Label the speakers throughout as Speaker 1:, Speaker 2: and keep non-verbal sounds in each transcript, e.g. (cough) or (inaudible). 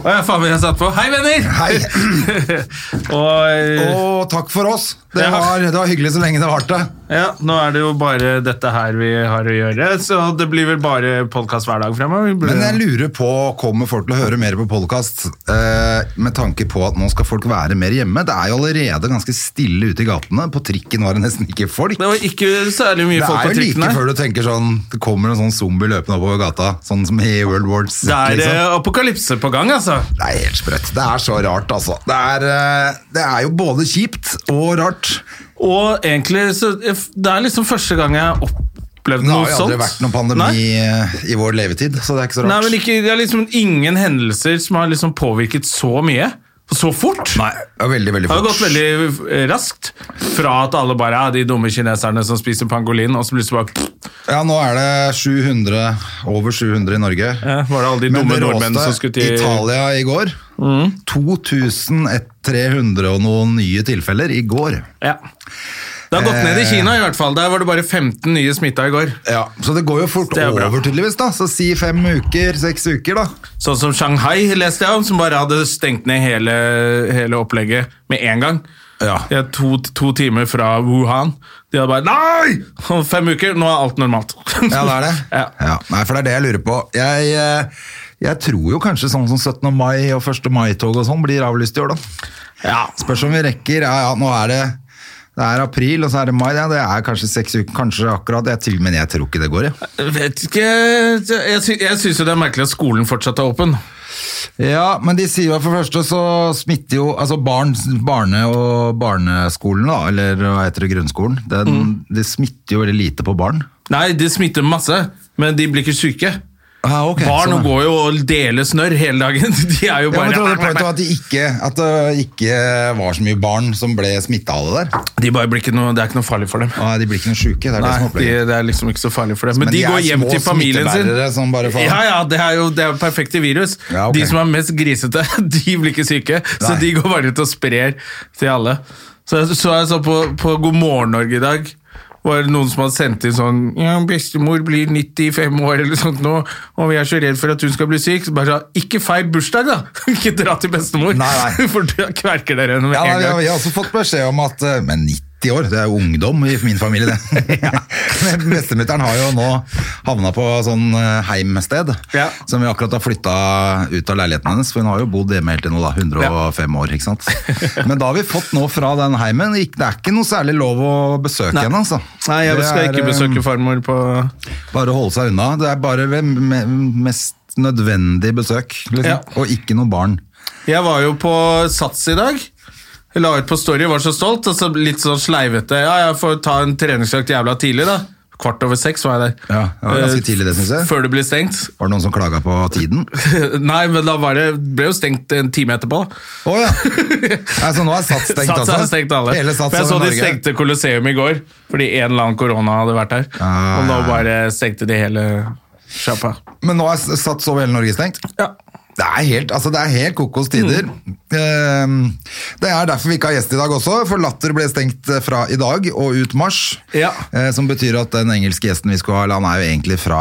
Speaker 1: Å, ja, faen, jeg satt på. Hei, venner!
Speaker 2: Hei,
Speaker 1: (laughs) Og eh,
Speaker 2: og takk for oss. Det
Speaker 1: Ja.
Speaker 2: var, det var hyggelig så lenge det varte.
Speaker 1: eh, ja, nå er det jo bare dette her vi har å gjøre, så det blir vel bare podkast hver dag fremover. Vi blir-
Speaker 2: Men jeg lurer på, kommer folk til å høre mer på podkast eh, med tanke på at nå skal folk være mer hjemme? Det er jo allerede ganske stille ute i gatene. På trikken var det nesten ikke folk.
Speaker 1: Det var ikke særlig mye
Speaker 2: Det
Speaker 1: folk
Speaker 2: er
Speaker 1: på
Speaker 2: jo
Speaker 1: trikken
Speaker 2: like
Speaker 1: her.
Speaker 2: før du tenker sånn Det kommer en sånn zombie løpende oppover gata, sånn som i World War Z.
Speaker 1: Det er eh,
Speaker 2: liksom.
Speaker 1: apokalypse på gang, altså.
Speaker 2: det er helt sprøtt. Det er så rart, altså. Det er, eh, det er jo både kjipt og rart.
Speaker 1: Og egentlig så Det er liksom første gang jeg har opplevd
Speaker 2: Det
Speaker 1: noe sånt.
Speaker 2: har jo aldri vært noen
Speaker 1: Nei.
Speaker 2: pandemi eh, i vår levetid, så det er ikke så rart.
Speaker 1: Nei, men ikke, Det er liksom ingen hendelser som har liksom påvirket så mye. og Så fort.
Speaker 2: Nei, det er veldig, veldig
Speaker 1: Det har
Speaker 2: fort.
Speaker 1: gått veldig eh, raskt fra at alle bare er de dumme kineserne som spiser pangolin, og så plutselig bare
Speaker 2: Ja, nå er det 700, over 700 i Norge.
Speaker 1: Ja, var det alle de
Speaker 2: Men
Speaker 1: dumme
Speaker 2: det råeste,
Speaker 1: nordmennene som skulle til Mm.
Speaker 2: Italia i går. 2300 og noen nye tilfeller i går.
Speaker 1: Ja. Det har gått ned i Kina, i hvert fall. Der var det bare 15 nye smitta i går.
Speaker 2: Ja, Så det går jo fort
Speaker 1: Det er bra.
Speaker 2: over, tydeligvis. da. Så si fem uker, seks uker, da.
Speaker 1: Sånn som Shanghai, leste jeg om, som bare hadde stengt ned hele, hele opplegget med en gang.
Speaker 2: Ja.
Speaker 1: De er to, to timer fra Wuhan. De hadde bare Nei! Om fem uker, nå er alt normalt.
Speaker 2: Ja, det er det.
Speaker 1: (laughs) Ja.
Speaker 2: Ja, Nei, for det er det jeg lurer på. Jeg, eh, jeg tror jo kanskje sånn som 17. mai og 1. mai-tog og sånn blir avlyst i år, da.
Speaker 1: Ja.
Speaker 2: Spørs om vi rekker. Ja, ja, nå er det det er april, og så er det mai. Ja, det er kanskje seks uker, kanskje akkurat. Jeg til, men jeg tror ikke det går, jeg.
Speaker 1: Vet ikke Jeg, sy jeg syns jo det er merkelig at skolen fortsatt er åpen.
Speaker 2: Ja, men de sier jo at for det første så smitter jo altså barn, barne- og barneskolen, da, eller hva heter det, grunnskolen, den, det smitter jo veldig lite på barn.
Speaker 1: Nei, de smitter masse, men de blir ikke syke.
Speaker 2: Ah, ok,
Speaker 1: Barn
Speaker 2: sånn, ja.
Speaker 1: går jo og deler snørr hele dagen. (laughs) De er jo
Speaker 2: Ja,
Speaker 1: bare
Speaker 2: men
Speaker 1: (laughs)
Speaker 2: trodde poenget var at, de ikke, at det ikke var så mye barn som ble smitta av det der.
Speaker 1: De bare blir ikke noe, Det er ikke noe farlig for dem.
Speaker 2: Ah, de blir ikke noe sjuke. Det er det som
Speaker 1: Nei,
Speaker 2: er
Speaker 1: de,
Speaker 2: opplegget.
Speaker 1: det er liksom ikke så farlig for dem. Men,
Speaker 2: Men
Speaker 1: de,
Speaker 2: de er
Speaker 1: går hjem
Speaker 2: små
Speaker 1: til familien sin.
Speaker 2: smittebærere som bare faen.
Speaker 1: ja, ja, det er jo det er jo perfekte virus.
Speaker 2: Ja, ok.
Speaker 1: De som er mest grisete, (laughs) de blir ikke syke. Så
Speaker 2: Nei.
Speaker 1: de går bare ut og sprer til alle. Så jeg så, jeg så på, på God morgen Norge i dag. Var det noen som hadde sendt inn sånn ja, 'Bestemor blir 95 år', eller sånt nå, og vi er så redd for at hun skal bli syk. Så bare sa Ikke feil bursdag, da! (laughs) ikke dra til bestemor,
Speaker 2: Nei, nei.
Speaker 1: (laughs) for da kverker dere henne med
Speaker 2: Ja, nei, vi,
Speaker 1: en gang.
Speaker 2: har, vi har også fått beskjed om at eh, Men 90 år, det er jo ungdom i min familie, det.
Speaker 1: (laughs)
Speaker 2: (laughs) Men Bestemutteren har jo nå havna på sånn eh, heimsted,
Speaker 1: Ja.
Speaker 2: som vi akkurat har flytta ut av leiligheten hennes. For hun har jo bodd hjemme helt til nå, da. 105 år, ikke
Speaker 1: (laughs)
Speaker 2: sant. Men da har vi fått nå fra den heimen ikke- Det er ikke noe særlig lov å besøke
Speaker 1: Nei.
Speaker 2: henne, altså.
Speaker 1: Nei, jeg
Speaker 2: Det
Speaker 1: skal
Speaker 2: er,
Speaker 1: ikke
Speaker 2: eh,
Speaker 1: besøke farmor på
Speaker 2: Bare holde seg unna. Det er bare ved me- mest nødvendig besøk, liksom.
Speaker 1: Ja.
Speaker 2: Og ikke noe barn.
Speaker 1: Jeg var jo på Sats i dag. Jeg la ut på Story, var så stolt. Og så litt sånn sleivete. Ja, jeg får ta en treningsøkt jævla tidlig, da. Kvart over seks var jeg der.
Speaker 2: Ja, det var ganske tidlig det, synes jeg.
Speaker 1: Eh, Før det ble stengt. (laughs)
Speaker 2: Var det noen som klaga på tiden?
Speaker 1: Nei, men da var det, ble jo stengt en time etterpå.
Speaker 2: Å ja! Altså, nå er Sats stengt,
Speaker 1: Sats
Speaker 2: altså?
Speaker 1: hadde stengt alle.
Speaker 2: Hele Sats
Speaker 1: For jeg så
Speaker 2: over
Speaker 1: de
Speaker 2: Norge.
Speaker 1: stengte Colosseum i går, fordi en eller annen korona hadde vært der.
Speaker 2: Ah.
Speaker 1: Og nå bare stengte de hele sjappa.
Speaker 2: Men nå er Sats over hele Norge stengt?
Speaker 1: Ja.
Speaker 2: Det er helt, altså, det er helt kokos tider.
Speaker 1: Mm.
Speaker 2: Ehm, Det er derfor vi ikke har gjest i dag også, for Latter ble stengt eh, fra i dag og ut mars.
Speaker 1: Ja.
Speaker 2: Eh, Som betyr at den engelske gjesten vi skulle ha, han er jo egentlig fra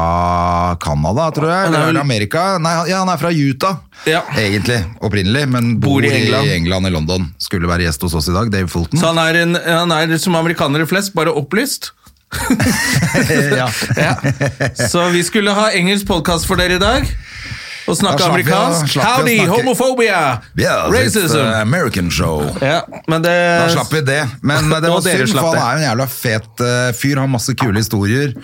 Speaker 2: Canada, tror jeg.
Speaker 1: Han er
Speaker 2: Eller
Speaker 1: vel-
Speaker 2: Amerika. Nei, han- ja, han er fra Utah,
Speaker 1: Ja.
Speaker 2: egentlig, opprinnelig. Men bor, i, England. i London. Skulle være gjest hos oss i dag, Dave Fulton.
Speaker 1: Så han er, en, han er som amerikanere flest, bare opplyst.
Speaker 2: (laughs) ja.
Speaker 1: Ja. Så vi skulle ha engelsk podkast for dere i dag. Og snakke
Speaker 2: Da slapp vi å-
Speaker 1: amerikansk.
Speaker 2: slapp vi å
Speaker 1: Howdy,
Speaker 2: snakke-
Speaker 1: homofobia,
Speaker 2: Yeah, it's
Speaker 1: racism.
Speaker 2: the eh, American show.
Speaker 1: Ja, men det
Speaker 2: Da slapp vi det. Men det
Speaker 1: Eh, (laughs) Og
Speaker 2: var
Speaker 1: dere
Speaker 2: synd,
Speaker 1: slapp
Speaker 2: for han
Speaker 1: det.
Speaker 2: er jo en jævla fet eh, fyr. Har masse kule historier.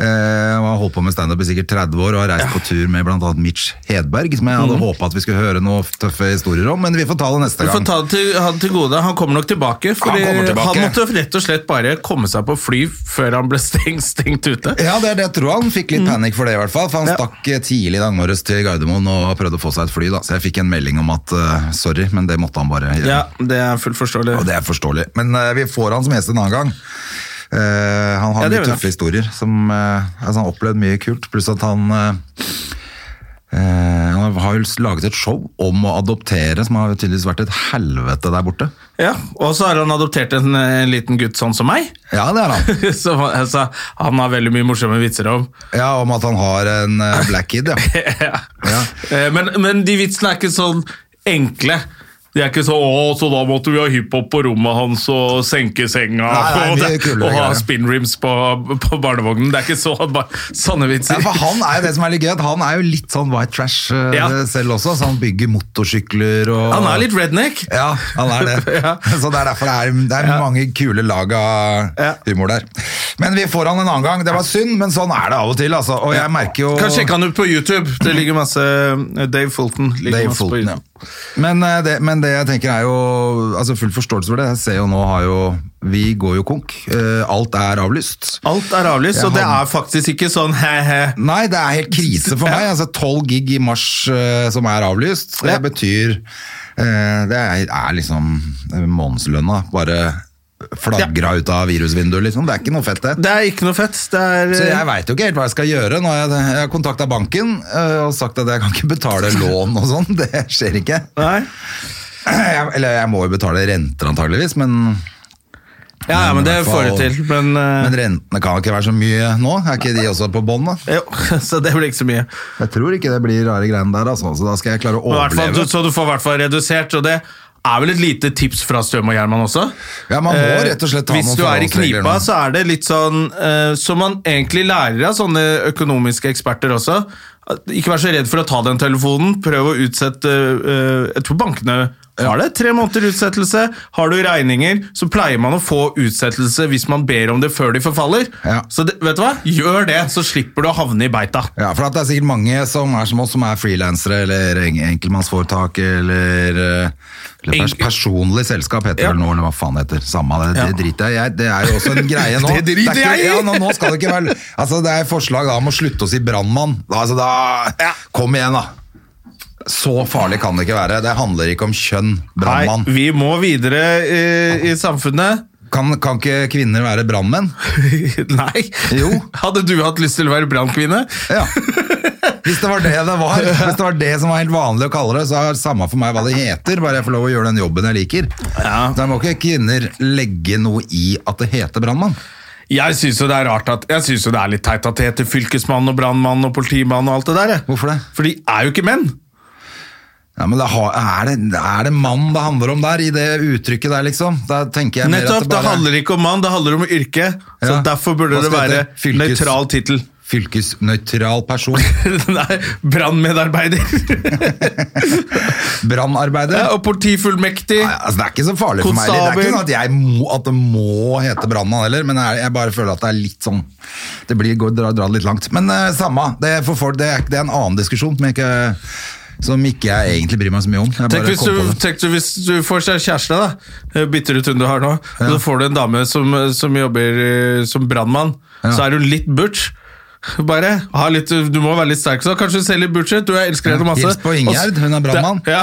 Speaker 2: Eh, og har holdt på med standup i sikkert 30 år og har reist på tur med bl.a. Mitch Hedberg, som jeg hadde håpet at vi skulle høre noen tøffe historier om, men vi får ta det neste
Speaker 1: Mhm. Vi får
Speaker 2: gang.
Speaker 1: ta det til, han til gode. Han kommer nok tilbake. Fordi
Speaker 2: kommer
Speaker 1: han,
Speaker 2: tilbake.
Speaker 1: måtte rett og slett bare komme seg på fly før han ble (laughs) stengt, stengt ute.
Speaker 2: Ja, det er det jeg tror han fikk
Speaker 1: Mhm.
Speaker 2: litt panikk for det i hvert fall, for han stakk eh, tidlig i dag morges til Gardermoen og prøvde å få seg et fly da, så jeg fikk en melding om at eh, sorry, men det måtte han bare gjøre.
Speaker 1: Ja, det er fullt forståelig.
Speaker 2: Og det er forståelig. Men eh, vi får han som gjest en annen gang. Eh, han har
Speaker 1: Ja, det
Speaker 2: mye
Speaker 1: gjør vi.
Speaker 2: tøffe historier. Som, eh, altså, han har opplevd mye kult, pluss at han eh, eh, han har jo laget et show om å adoptere, som har tydeligvis vært et helvete der borte.
Speaker 1: Ja, Og så har han adoptert en, eh, liten gutt sånn som meg. (laughs)
Speaker 2: Ja, det er han.
Speaker 1: Så altså, han har veldig mye morsomme vitser om.
Speaker 2: Ja, Om at han har en eh, black
Speaker 1: (laughs)
Speaker 2: kid, ja.
Speaker 1: Ja.
Speaker 2: ja.
Speaker 1: Eh, Men, men de vitsene er ikke sånn enkle. De er ikke sånn 'Å, så da måtte vi ha hiphop på rommet hans og senke senga'
Speaker 2: Nei, nei,
Speaker 1: og,
Speaker 2: mye
Speaker 1: det-
Speaker 2: kulere
Speaker 1: og ha
Speaker 2: greier.
Speaker 1: spinrims på, på barnevognen. Det er ikke så, bare, sånne vitser.
Speaker 2: Ja, for Han er jo det som er litt gøy, at han er jo litt sånn white trash eh,
Speaker 1: Ja.
Speaker 2: selv også. Så han bygger motorsykler og
Speaker 1: Han er litt redneck.
Speaker 2: Ja, han er det.
Speaker 1: (laughs) Ja.
Speaker 2: Så det er derfor det er, det er mange kule lag av
Speaker 1: Ja.
Speaker 2: humor der. Men vi får han en annen gang. Det var synd, men sånn er det av og til. Altså. Og jeg merker jo
Speaker 1: Kan sjekke han ut på YouTube. Det ligger masse eh, Dave Fulton. Ligger
Speaker 2: Dave
Speaker 1: masse på
Speaker 2: Fulton, ja.
Speaker 1: YouTube.
Speaker 2: Men, eh, det, men det jeg tenker er jo altså Full forståelse for det. Jeg ser jo nå har jo Vi går jo konk. Eh, Alt er avlyst.
Speaker 1: Alt er avlyst,
Speaker 2: Jeg
Speaker 1: og det
Speaker 2: har-
Speaker 1: er faktisk ikke sånn he-he.
Speaker 2: Nei, det er helt krise
Speaker 1: (laughs)
Speaker 2: for meg. Altså, 12 gig i mars eh, som er avlyst, det
Speaker 1: Ja.
Speaker 2: betyr eh, Det er, er liksom månedslønna bare flagra ut av virusvinduet, liksom. Det er ikke noe fett, det.
Speaker 1: Det er ikke noe fett. Det er, eh,
Speaker 2: Så jeg veit jo ikke helt hva jeg skal gjøre. Nå har jeg, jeg har kontakta banken eh, og sagt at jeg kan ikke betale lån og sånn. (laughs) Det skjer ikke.
Speaker 1: Nei.
Speaker 2: Jeg, eller jeg må jo betale renter antageligvis, men
Speaker 1: Ja, ja, men det
Speaker 2: Mm, i hvert
Speaker 1: får
Speaker 2: fall-
Speaker 1: du til. Men, eh,
Speaker 2: men rentene kan ikke være så mye nå? Er ikke de også på bånn, da?
Speaker 1: jo, (laughs) så det blir ikke så mye.
Speaker 2: Jeg tror ikke det blir rare greiene der, altså. Så da skal jeg klare å
Speaker 1: Men i hvert fall,
Speaker 2: overleve.
Speaker 1: du, så du får i hvert fall redusert, og det er vel et lite tips fra Støm og Gjerman også?
Speaker 2: Ja, man må
Speaker 1: Eh,
Speaker 2: rett og slett ha
Speaker 1: Hvis
Speaker 2: noen
Speaker 1: du er i
Speaker 2: forholdsregler
Speaker 1: knipa,
Speaker 2: nå.
Speaker 1: så er det litt sånn eh, Som man egentlig lærer av sånne økonomiske eksperter også. at Ikke vær så redd for å ta den telefonen. Prøv å utsette eh, Jeg tror bankene har det. Tre måneder utsettelse. Har du regninger, så pleier man å få utsettelse hvis man ber om det før de forfaller.
Speaker 2: Ja.
Speaker 1: Så det, vet du hva? Gjør det, så slipper du å havne i beita.
Speaker 2: Ja, for at det er sikkert mange som er som oss, som er frilansere eller en- enkeltmannsforetak eller, eh, eller pers
Speaker 1: Enkel-
Speaker 2: personlig selskap, heter det
Speaker 1: Ja.
Speaker 2: vel nå, eller hva faen det heter. Samme av det, det
Speaker 1: Ja.
Speaker 2: driter jeg i. Jeg- Det er jo også en greie nå.
Speaker 1: (laughs) Det driter
Speaker 2: er ikke-
Speaker 1: jeg i!
Speaker 2: Ja, nå, nå skal det ikke være Altså, det er forslag da om å slutte å si brannmann. Da, Altså, da Kom igjen, da. Så farlig kan det ikke være. Det handler ikke om kjønn, brannmann.
Speaker 1: Nei, vi må videre eh, i samfunnet.
Speaker 2: Kan, kan ikke kvinner være brannmenn?
Speaker 1: (laughs) Nei.
Speaker 2: Jo.
Speaker 1: Hadde du hatt lyst til å være brannkvinne?
Speaker 2: Ja. Hvis det var det det var, hvis det var det som var helt vanlig å kalle det, så er det samme for meg hva det heter, bare jeg får lov å gjøre den jobben jeg liker.
Speaker 1: Ja.
Speaker 2: Så Da må ikke kvinner legge noe i at det heter brannmann.
Speaker 1: (laughs) Jeg syns jo det er rart at Jeg synes jo det er litt teit at det heter fylkesmann og brannmann og politimann og alt det der. jeg.
Speaker 2: Hvorfor det?
Speaker 1: For de er jo ikke menn.
Speaker 2: Ja, men det har- er, det, er det mann det handler om der, i det uttrykket der, liksom? Da tenker jeg mer
Speaker 1: Nettopp,
Speaker 2: at det
Speaker 1: Det
Speaker 2: bare
Speaker 1: handler ikke om mann, det handler om yrke. Så
Speaker 2: Ja.
Speaker 1: derfor burde
Speaker 2: Hva
Speaker 1: det
Speaker 2: skal
Speaker 1: være
Speaker 2: det hete? Fylkes-
Speaker 1: nøytral tittel. (laughs)
Speaker 2: fylkesnøytral person.
Speaker 1: Nei, brannmedarbeider.
Speaker 2: Brannarbeider.
Speaker 1: (laughs) og politifullmektig.
Speaker 2: Nei, altså, det er ikke så farlig for meg. heller. Det er ikke sånn at, jeg må, at det må hete Brannmann heller, men jeg, jeg bare føler at det er litt sånn Det blir, går, drar, drar det litt langt. Men eh, samme, det, er for folk, det, er, det er en annen diskusjon som jeg ikke, som ikke jeg egentlig bryr meg så mye om. Jeg
Speaker 1: Tenk
Speaker 2: bare
Speaker 1: hvis,
Speaker 2: kom på
Speaker 1: du,
Speaker 2: det.
Speaker 1: tenk du, hvis du får seg kjæreste, da. Eh, Bytter ut hun du har nå. Og så får du en dame som, som jobber eh, som brannmann.
Speaker 2: Ja.
Speaker 1: Så er hun litt butch. Bare, ha litt, eh, Du må være litt sterk, så kanskje hun ser litt butch ut. Du jeg elsker henne masse.
Speaker 2: Hils på Ingjerd,
Speaker 1: Og s-
Speaker 2: hun er brannmann.
Speaker 1: Det- Ja.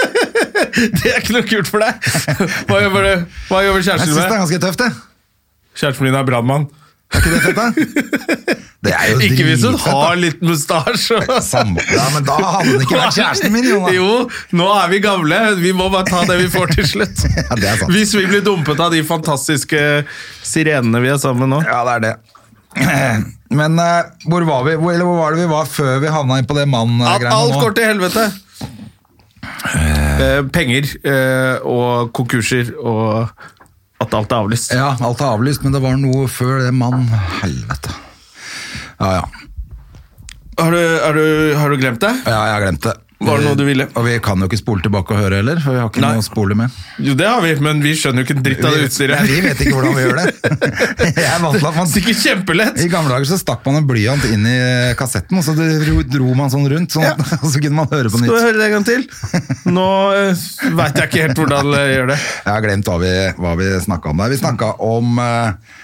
Speaker 1: (laughs) det er ikke noe kult for deg! Hva jobber, du- hva jobber
Speaker 2: Jeg
Speaker 1: kjæresten
Speaker 2: syns det er
Speaker 1: med?
Speaker 2: ganske tøft, det.
Speaker 1: Kjæresten min er brannmann.
Speaker 2: Er ikke det fett, da? Det er jo
Speaker 1: Ikke hvis hun
Speaker 2: dritfett, da.
Speaker 1: har litt mustasje. og-
Speaker 2: Samme- Ja, men da hadde det ikke vært kjæresten min, Jonas.
Speaker 1: Jo, nå er vi gamle. Vi må bare ta det vi får til slutt.
Speaker 2: (laughs) Ja, det er sant.
Speaker 1: Hvis vi blir dumpet av de fantastiske sirenene vi er sammen med nå.
Speaker 2: Ja, det er det. Men eh, hvor var vi? Hvor, eller hvor var det vi var før vi havna inn på det
Speaker 1: At
Speaker 2: mann-greiene
Speaker 1: alt
Speaker 2: nå?
Speaker 1: går til helvete! Eh, penger eh, og konkurser og at alt er avlyst.
Speaker 2: Ja, alt er avlyst, men det var noe før det, mann. Helvete. Ja, ja.
Speaker 1: Har, du, har, du, har du glemt det?
Speaker 2: Ja, jeg har glemt det.
Speaker 1: Var det noe du ville?
Speaker 2: Og vi kan jo ikke spole tilbake og høre heller, for vi har ikke
Speaker 1: Nei.
Speaker 2: noe å spole med.
Speaker 1: Jo, det har vi, men vi skjønner jo ikke en dritt av det utstyret.
Speaker 2: Nei, vi vet ikke
Speaker 1: (laughs)
Speaker 2: hvordan vi gjør det. Jeg er vant til at man
Speaker 1: Sikkert kjempelett!
Speaker 2: I gamle dager så stakk man en blyant inn i kassetten, og så dro, dro man sånn rundt, sånn, og (laughs) så kunne man høre på
Speaker 1: Skal vi
Speaker 2: nytt.
Speaker 1: høre det en gang til? Nå veit jeg ikke helt hvordan jeg gjør det.
Speaker 2: Jeg har glemt hva vi, hva vi snakka om der. Vi snakka om, eh,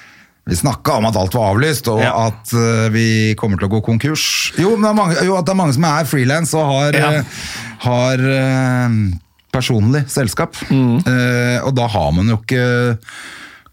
Speaker 2: vi snakket om at alt var avlyst, og
Speaker 1: Ja.
Speaker 2: at eh, vi kommer til å gå konkurs. Jo, men det er mange, jo, at det er mange som er frilans og har,
Speaker 1: Ja.
Speaker 2: eh, har eh, personlig selskap.
Speaker 1: Mm.
Speaker 2: Eh, og da har man jo ikke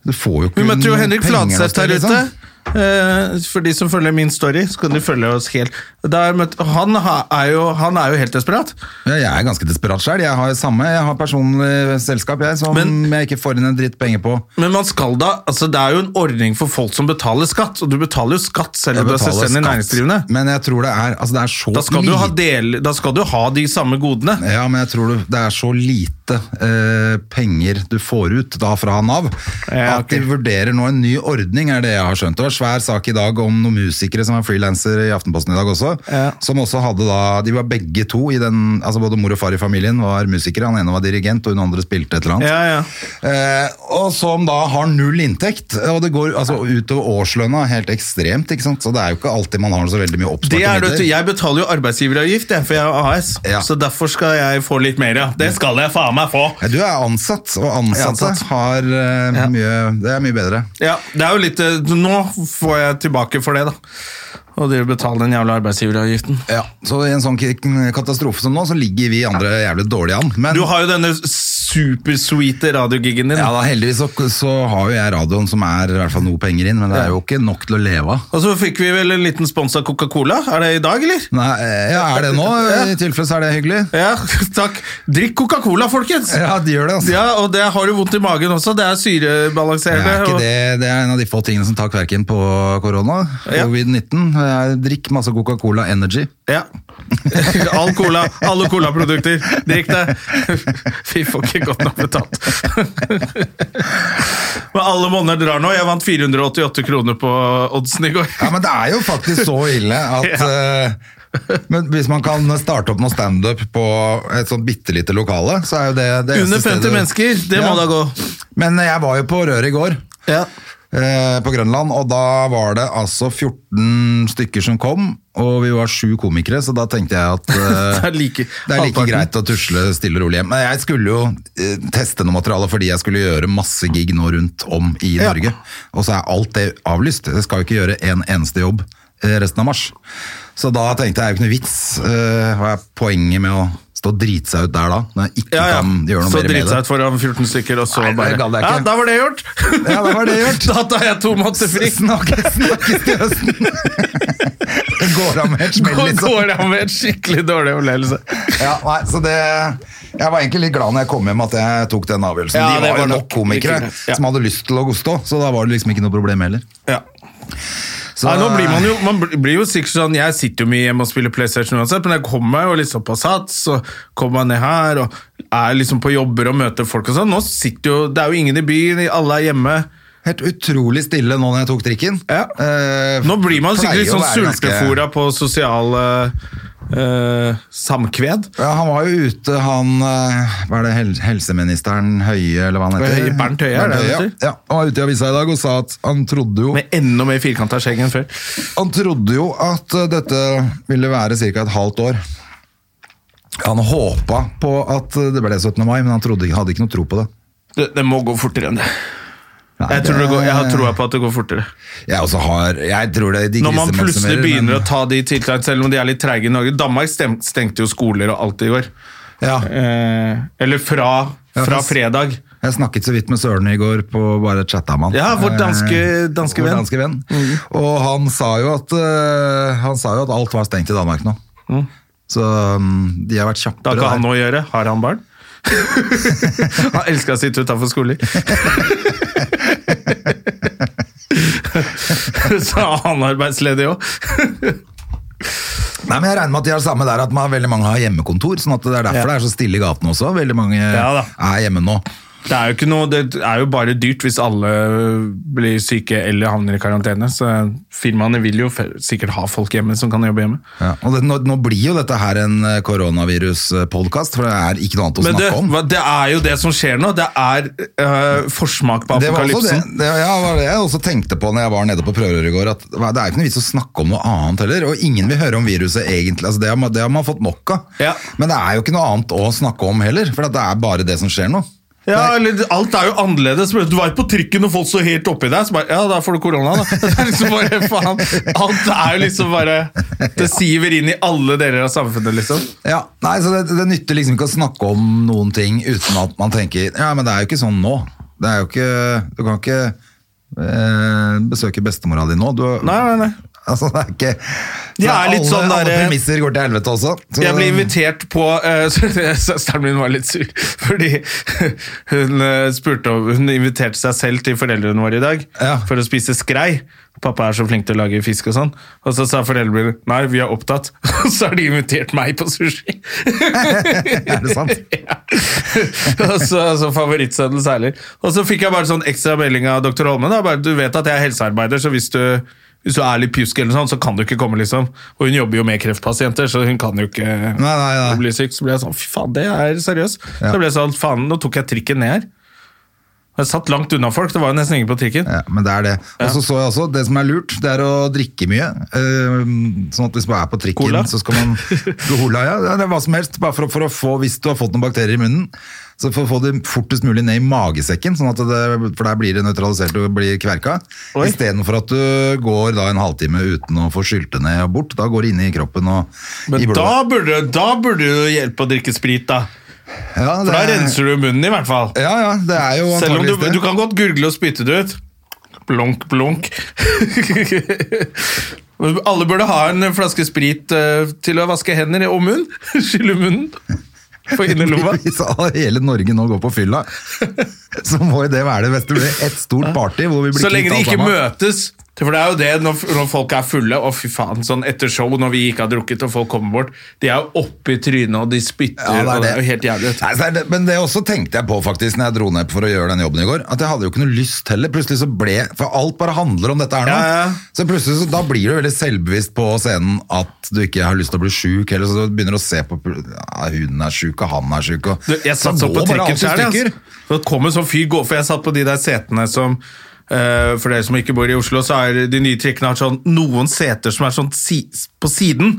Speaker 2: Du får jo ikke
Speaker 1: Vi møtte jo Henrik
Speaker 2: penger hos
Speaker 1: Fladseth
Speaker 2: deg,
Speaker 1: her ute.
Speaker 2: liksom.
Speaker 1: Eh, For de som følger min story, så kan de følge oss helt Da har jeg møtt- han, ha- er jo, han er jo helt desperat.
Speaker 2: Ja, jeg er ganske desperat sjøl. Jeg har samme, jeg har personlig selskap jeg, som
Speaker 1: Men-
Speaker 2: jeg ikke får inn en dritt penger på.
Speaker 1: Men man skal da, altså det er jo en ordning for folk som betaler skatt, og du betaler jo skatt selv
Speaker 2: Jeg
Speaker 1: om du er
Speaker 2: betaler
Speaker 1: selvstendig
Speaker 2: skatt,
Speaker 1: næringsdrivende.
Speaker 2: Men jeg tror det er, altså det er så
Speaker 1: Da skal, du
Speaker 2: lite
Speaker 1: ha del, da skal du ha de samme godene.
Speaker 2: Ja, men jeg tror du- det er så lite eh, penger du får ut da fra Nav,
Speaker 1: Ja,
Speaker 2: at de
Speaker 1: ok.
Speaker 2: vurderer nå en ny ordning, er det jeg har skjønt. Det var en svær sak i dag om noen musikere som var frilansere i Aftenposten i dag også,
Speaker 1: Ja.
Speaker 2: som også hadde da, de var begge to i den, altså både mor og far i familien var musikere, han ene var dirigent, og hun andre spilte et eller annet.
Speaker 1: Ja, ja.
Speaker 2: Eh, og som da har null inntekt, og det går altså, utover årslønna helt ekstremt, ikke sant? Så det er jo ikke alltid man har så veldig mye
Speaker 1: Det
Speaker 2: oppsparte
Speaker 1: er, det, vet du, jeg betaler jo arbeidsgiveravgift, jeg, for jeg er AS,
Speaker 2: Ja.
Speaker 1: så derfor skal jeg få litt mer. Ja. Det skal jeg faen meg få!
Speaker 2: Ja, Du er ansatt, og
Speaker 1: Jeg er
Speaker 2: ansatte
Speaker 1: ansatt.
Speaker 2: har eh,
Speaker 1: Ja.
Speaker 2: mye Det er mye bedre.
Speaker 1: Ja, det er jo litt, eh, Nå får jeg tilbake for det, da. Og dere betaler den jævla arbeidsgiveravgiften.
Speaker 2: Ja, Så i en sånn k- katastrofe som nå, så ligger vi andre jævlig dårlig an. Men
Speaker 1: Du har jo denne supersweete radiogiggen din.
Speaker 2: ja, da, heldigvis så, så har jo jeg radioen som er i hvert fall noe penger inn, men det er jo ikke nok til å leve av.
Speaker 1: Og så fikk vi vel en liten spons av Coca-Cola. Er det i dag, eller?
Speaker 2: Nei, eh, ja, er det nå? I tilfelle så er det hyggelig.
Speaker 1: Ja, (laughs) takk. Drikk Coca-Cola, folkens!
Speaker 2: Ja, de gjør det, altså.
Speaker 1: Ja, og det har du vondt i magen også. Det er
Speaker 2: Det
Speaker 1: syrebalanserende.
Speaker 2: er, ikke
Speaker 1: og-
Speaker 2: det, det er en av de få tingene som tar kverken på korona.
Speaker 1: Ja.
Speaker 2: Covid-19. Jeg Drikk masse Coca-Cola Energy.
Speaker 1: Ja. (laughs) All cola, alle colaprodukter. Drikk det. (laughs) Vi får ikke godt nok betalt. (laughs) Men alle monner drar nå. Jeg vant 488 kroner på oddsen i går.
Speaker 2: Ja, men det er jo faktisk så ille
Speaker 1: (laughs)
Speaker 2: at eh, men Hvis man kan starte opp noe standup på et sånt bitte lite lokale, så er jo det det eneste
Speaker 1: Under 50
Speaker 2: stedet-
Speaker 1: mennesker, det må da gå.
Speaker 2: Men jeg var jo på Røret i går. eh, På Grønland, og da var det altså 14 stykker som kom, og vi var sju komikere, så da tenkte jeg
Speaker 1: (laughs)
Speaker 2: at eh,
Speaker 1: Det er like,
Speaker 2: Det er like
Speaker 1: halvparten.
Speaker 2: greit å tusle stille og rolig hjem. Men jeg skulle jo eh, teste noe materiale fordi jeg skulle gjøre masse gig nå rundt om i
Speaker 1: Ja.
Speaker 2: Norge. Og så er alt det avlyst. Jeg skal jo ikke gjøre en eneste jobb eh, resten av mars. Så da tenkte jeg det er jo ikke noe vits. eh, Hva er poenget med å stå og drite seg ut der da, når jeg ikke
Speaker 1: Ja, ja.
Speaker 2: kan gjøre noe
Speaker 1: Så
Speaker 2: mer
Speaker 1: drite
Speaker 2: med
Speaker 1: seg
Speaker 2: det?
Speaker 1: ut foran 14 stykker, og så
Speaker 2: Nei, det
Speaker 1: bare
Speaker 2: gadd jeg
Speaker 1: Ja,
Speaker 2: ikke.
Speaker 1: da var det gjort!
Speaker 2: Ja, da var det
Speaker 1: (laughs)
Speaker 2: gjort.
Speaker 1: Da tar jeg to måneder fri.
Speaker 2: Snakkes, snakkes til høsten!
Speaker 1: (laughs)
Speaker 2: Det går av med et smell,
Speaker 1: Og
Speaker 2: liksom.
Speaker 1: går av med en skikkelig dårlig opplevelse.
Speaker 2: Ja, nei, så det, jeg var egentlig litt glad når jeg kom hjem at jeg tok den avgjørelsen.
Speaker 1: Ja,
Speaker 2: De
Speaker 1: det
Speaker 2: var jo
Speaker 1: var
Speaker 2: nok
Speaker 1: nok
Speaker 2: komikere
Speaker 1: like greit, ja.
Speaker 2: som hadde lyst til å stå, så da var det liksom ikke noe problem heller.
Speaker 1: Ja.
Speaker 2: Så,
Speaker 1: Nei, nå blir man jo, man bl- blir jo sikkert sånn, jeg sitter jo mye hjemme og spiller Playstation uansett, men jeg kommer meg jo liksom på sats, og kommer meg ned her, og er liksom på jobber og møter folk og sånn. Nå sitter jo, det er jo ingen i byen, alle er hjemme.
Speaker 2: Helt utrolig stille nå når jeg tok trikken.
Speaker 1: Ja.
Speaker 2: Eh,
Speaker 1: Nå blir man
Speaker 2: pleier
Speaker 1: sikkert litt
Speaker 2: å
Speaker 1: sånn
Speaker 2: være ganske-
Speaker 1: sultefora på sosiale eh, samkved.
Speaker 2: Ja, han var jo ute, han eh, Hva er det, hel helseministeren Høie, eller hva han heter?
Speaker 1: Høie, Bernt Høie, er det
Speaker 2: ja.
Speaker 1: han heter?
Speaker 2: ja, han var ute i avisa i dag og sa at han trodde jo
Speaker 1: Med enda mer firkanta skjegg enn før.
Speaker 2: Han trodde jo at eh, dette ville være ca. et halvt år. Han håpa på at eh, det ble 17. mai, men han trodde, hadde ikke noe tro på det.
Speaker 1: Det, det må gå fortere enn det.
Speaker 2: Nei,
Speaker 1: Jeg, tror det går, jeg har troa på at det går fortere.
Speaker 2: Jeg også har Jeg tror det de
Speaker 1: Når man plutselig
Speaker 2: grisemaksimere,
Speaker 1: begynner
Speaker 2: men-
Speaker 1: å ta de tiltakene, selv om de er litt treige i Norge Danmark stem- stengte jo skoler og alt i går.
Speaker 2: ja,
Speaker 1: Eh, eller fra,
Speaker 2: Ja,
Speaker 1: fra
Speaker 2: fast-
Speaker 1: fredag.
Speaker 2: Jeg snakket så vidt med Søren i går på bare chatta med han.
Speaker 1: Ja, vår danske-
Speaker 2: Eh,
Speaker 1: danske
Speaker 2: vår
Speaker 1: venn. Mm.
Speaker 2: danske venn. Og han sa, jo at, eh, han sa jo at alt var stengt i Danmark nå. Så mm, de har vært kjappere
Speaker 1: Det har ikke han
Speaker 2: der.
Speaker 1: noe å gjøre. Har han
Speaker 2: (laughs)
Speaker 1: barn? han elska å sitte utafor skoler. Så er han arbeidsledig òg.
Speaker 2: Nei, men Jeg regner med at de har det samme der, at man, veldig mange har hjemmekontor. sånn at Det er derfor
Speaker 1: Ja.
Speaker 2: det er så stille i gatene også. Veldig mange
Speaker 1: Ja da.
Speaker 2: er hjemme nå.
Speaker 1: Det er jo ikke noe, det er jo bare dyrt hvis alle blir syke eller havner i karantene. Så firmaene vil jo f- sikkert ha folk hjemme som kan jobbe hjemme.
Speaker 2: Ja, og det, nå, nå blir jo dette her en eh, koronavirus-podcast, for det er ikke noe annet å
Speaker 1: Men det,
Speaker 2: snakke om.
Speaker 1: hva- det er jo det som skjer nå. Det er eh, forsmak på
Speaker 2: Det var også det,
Speaker 1: apokalypsen.
Speaker 2: det, ja, det var det jeg også tenkte på når jeg var nede på prøverøret i går. At hva, det er jo ikke noe vits å snakke om noe annet heller, og ingen vil høre om viruset egentlig. Altså, det, har, man- det har man fått nok av.
Speaker 1: Ja.
Speaker 2: Men det er jo ikke noe annet å snakke om heller, for at det er bare det som skjer nå.
Speaker 1: Ja, eller Alt er jo annerledes. Men Du var jo på trikken og folk så helt oppi deg. Så bare, ja, da får du korona, da. (laughs) Det er liksom bare, faen. Alt er jo liksom bare Det siver inn i alle deler av samfunnet, liksom.
Speaker 2: Ja, nei, så det, det nytter liksom ikke å snakke om noen ting uten at man tenker Ja, men det er jo ikke sånn nå. Det er jo ikke Du kan ikke eh, besøke bestemora di nå. Du,
Speaker 1: Nei, nei, nei.
Speaker 2: Altså, det er ikke
Speaker 1: De
Speaker 2: så
Speaker 1: er litt
Speaker 2: alle,
Speaker 1: sånn
Speaker 2: alle
Speaker 1: der-
Speaker 2: premisser går til helvete også. Så-
Speaker 1: Jeg ble invitert på eh, (laughs) Søsteren min var litt sur, fordi hun eh, spurte om Hun inviterte seg selv til foreldrene våre i dag
Speaker 2: Ja.
Speaker 1: for å spise skrei. Pappa er så flink til å lage fisk og sånn. Og så sa foreldrene mine nei, vi er opptatt. (laughs) Og så har de invitert meg på sushi.
Speaker 2: Er det sant?
Speaker 1: (laughs) ja. og så, så favorittsønnen særlig. Og så fikk jeg bare sånn ekstra melding av dr. Holme. Da. Bare, du vet at jeg er helsearbeider, så hvis du, hvis du er litt pjusk, eller noe sånt, så kan du ikke komme. liksom. Og hun jobber jo med kreftpasienter, så hun kan jo ikke
Speaker 2: nei, nei.
Speaker 1: bli syk. Så ble jeg sånn, fy faen, det er seriøst. Så ble jeg sånn, faen, nå tok jeg trikken ned her. Jeg satt langt unna folk, det var jo nesten ingen på trikken.
Speaker 2: Ja, men det er det. Og så så jeg også, det som er lurt, det er å drikke mye. Ehm, Sånn at hvis man er på trikken,
Speaker 1: Cola?
Speaker 2: så skal man Cola, ja. Det er hva som helst. Bare for, å- for å få, hvis du har fått noen bakterier i munnen, så for å få det fortest mulig ned i magesekken, sånn at det, for der blir det nøytralisert og blir kverka.
Speaker 1: Oi.
Speaker 2: Istedenfor at du går da en halvtime uten å få skylte ned og bort. Da går det inn i kroppen og i
Speaker 1: Men
Speaker 2: blodet.
Speaker 1: da burde, da burde du hjelpe å drikke sprit, da.
Speaker 2: ja,
Speaker 1: For da renser du munnen, i hvert fall.
Speaker 2: Ja, ja, det er jo
Speaker 1: Selv om du,
Speaker 2: antageligvis det.
Speaker 1: du kan godt gurgle og spytte det ut. Blunk, blunk. (laughs) Alle burde ha en flaske sprit eh, til å vaske hender og munn. (laughs) Skylle munnen på (laughs) innerlomma.
Speaker 2: Hvis alle- hele Norge nå går på fylla, (laughs) så må jo det være det beste. Det blir et stort party hvor vi blir
Speaker 1: Så lenge de
Speaker 2: alt
Speaker 1: ikke
Speaker 2: sammen.
Speaker 1: møtes. For det er jo det når, når folk er fulle, og fy faen, sånn etter show når vi ikke har drukket og folk kommer bort, de er jo oppe i trynet og de spytter,
Speaker 2: Ja,
Speaker 1: og det er jo helt jævlig. vet du.
Speaker 2: Nei, så er det, men det også tenkte jeg på faktisk Når jeg dro ned for å gjøre den jobben i går At jeg hadde jo ikke noe lyst heller Plutselig så ble For alt bare handler om dette her nå
Speaker 1: Ja, ja.
Speaker 2: Så plutselig så, da blir du veldig selvbevisst på scenen At du ikke har lyst til å bli syk Eller så du begynner å se på ja, Hun er syk og han er syk og,
Speaker 1: Du, jeg satt så på
Speaker 2: går bare alt i
Speaker 1: trikken sjøl.
Speaker 2: stykker.
Speaker 1: Så kom en sånn fyr gå, for jeg satt på de der setene som eh, For dere som ikke bor i Oslo, så er de nye trikkene har sånn noen seter som er sånn si, på siden.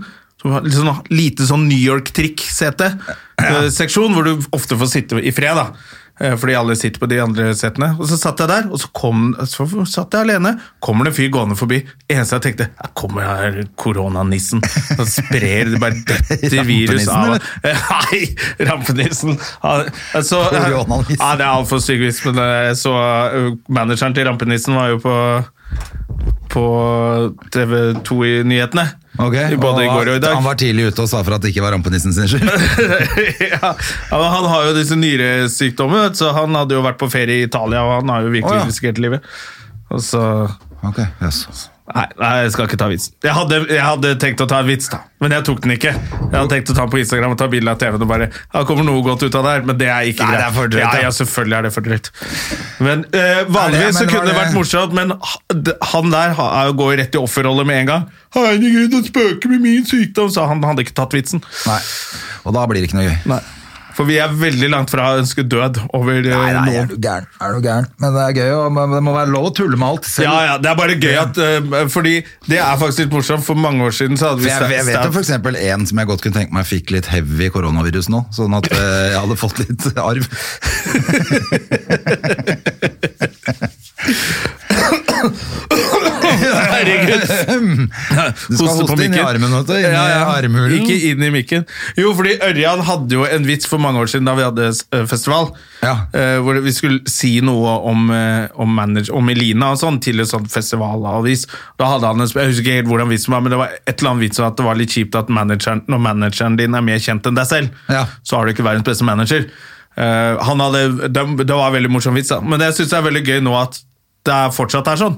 Speaker 1: Som har litt sånn, lite sånn New York-trikk-sete-seksjon, hvor du ofte får sitte i fred. da Eh, fordi alle sitter på de andre setene. Og så satt jeg der, og så, kom, så satt jeg alene. Kommer det en fyr gående forbi. Eneste jeg tenkte, her kommer her koronanissen. Så sprer
Speaker 2: (laughs)
Speaker 1: det bare detter virus av.
Speaker 2: Rampenissen,
Speaker 1: (laughs) Nei, rampenissen. Han- Altså,
Speaker 2: Koronanissen.
Speaker 1: ja, det er altfor styggvis, men eh, så eh, manageren til rampenissen var jo på på TV 2 i nyhetene.
Speaker 2: Ok,
Speaker 1: I Både altså. i
Speaker 2: og
Speaker 1: går og i dag.
Speaker 2: Han var tidlig ute og sa for at det ikke var rampenissen sin skyld
Speaker 1: (laughs)
Speaker 2: (laughs)
Speaker 1: ja, ja, men han har jo disse nyresykdommene, vet du, så han hadde jo vært på ferie i Italia, og han har jo virkelig
Speaker 2: Å, ja.
Speaker 1: risikert livet. Og så
Speaker 2: Ok, yes.
Speaker 1: nei, nei, jeg skal ikke ta vitsen. Jeg hadde, jeg hadde tenkt å ta en vits, da, men jeg tok den ikke. Jeg hadde tenkt å ta den på Instagram og ta bilde av TV-en og bare Ja, det kommer noe godt ut av det her, men det er ikke
Speaker 2: Nei,
Speaker 1: greit.
Speaker 2: det er for drøyt,
Speaker 1: ja,
Speaker 2: ja.
Speaker 1: ja, selvfølgelig er det for drøyt. Men eh,
Speaker 2: Nei, det-
Speaker 1: Vanligvis så
Speaker 2: men var
Speaker 1: kunne det
Speaker 2: det-
Speaker 1: vært morsomt, men ha- d- han der ha- er jo- går jo rett i offerrolle med en gang. 'Herregud, det spøker med min sykdom', så han hadde ikke tatt vitsen.
Speaker 2: Nei, og da blir det ikke noe gøy
Speaker 1: Nei. For vi er veldig langt fra å ønske død over eh,
Speaker 2: Nei, nei, er
Speaker 1: noen.
Speaker 2: du gæren? Er du gæren? Men det er gøy, og men det må være lov å tulle med alt selv.
Speaker 1: Ja, ja, Det er bare gøy at eh, Fordi det er faktisk litt morsomt. For mange år siden så hadde vi
Speaker 2: For jeg, jeg vet jo for eksempel en som jeg godt kunne tenke meg fikk litt heavy koronavirus nå, sånn at eh, jeg hadde fått litt (laughs) arv.
Speaker 1: (laughs) Herregud!
Speaker 2: Du skal hoste inn i armen, vet du, inn i armhulen.
Speaker 1: Ikke inn i mikken. Jo, fordi Ørjan hadde jo en vits for mange år siden da vi hadde eh, festival,
Speaker 2: Ja.
Speaker 1: eh, hvor vi skulle si noe om, eh, om, manage, om Elina og sånn til et sånt festivalavis. Da hadde han en, sp- jeg husker ikke helt hvordan vitsen var, men det var et eller annet vits om at det var litt kjipt at manageren, når manageren din er mer kjent enn deg selv,
Speaker 2: Ja.
Speaker 1: så har du ikke verdens beste manager. Eh, han hadde, det, det var en veldig morsom vits, da. men det synes jeg er veldig gøy nå at det er fortsatt er sånn.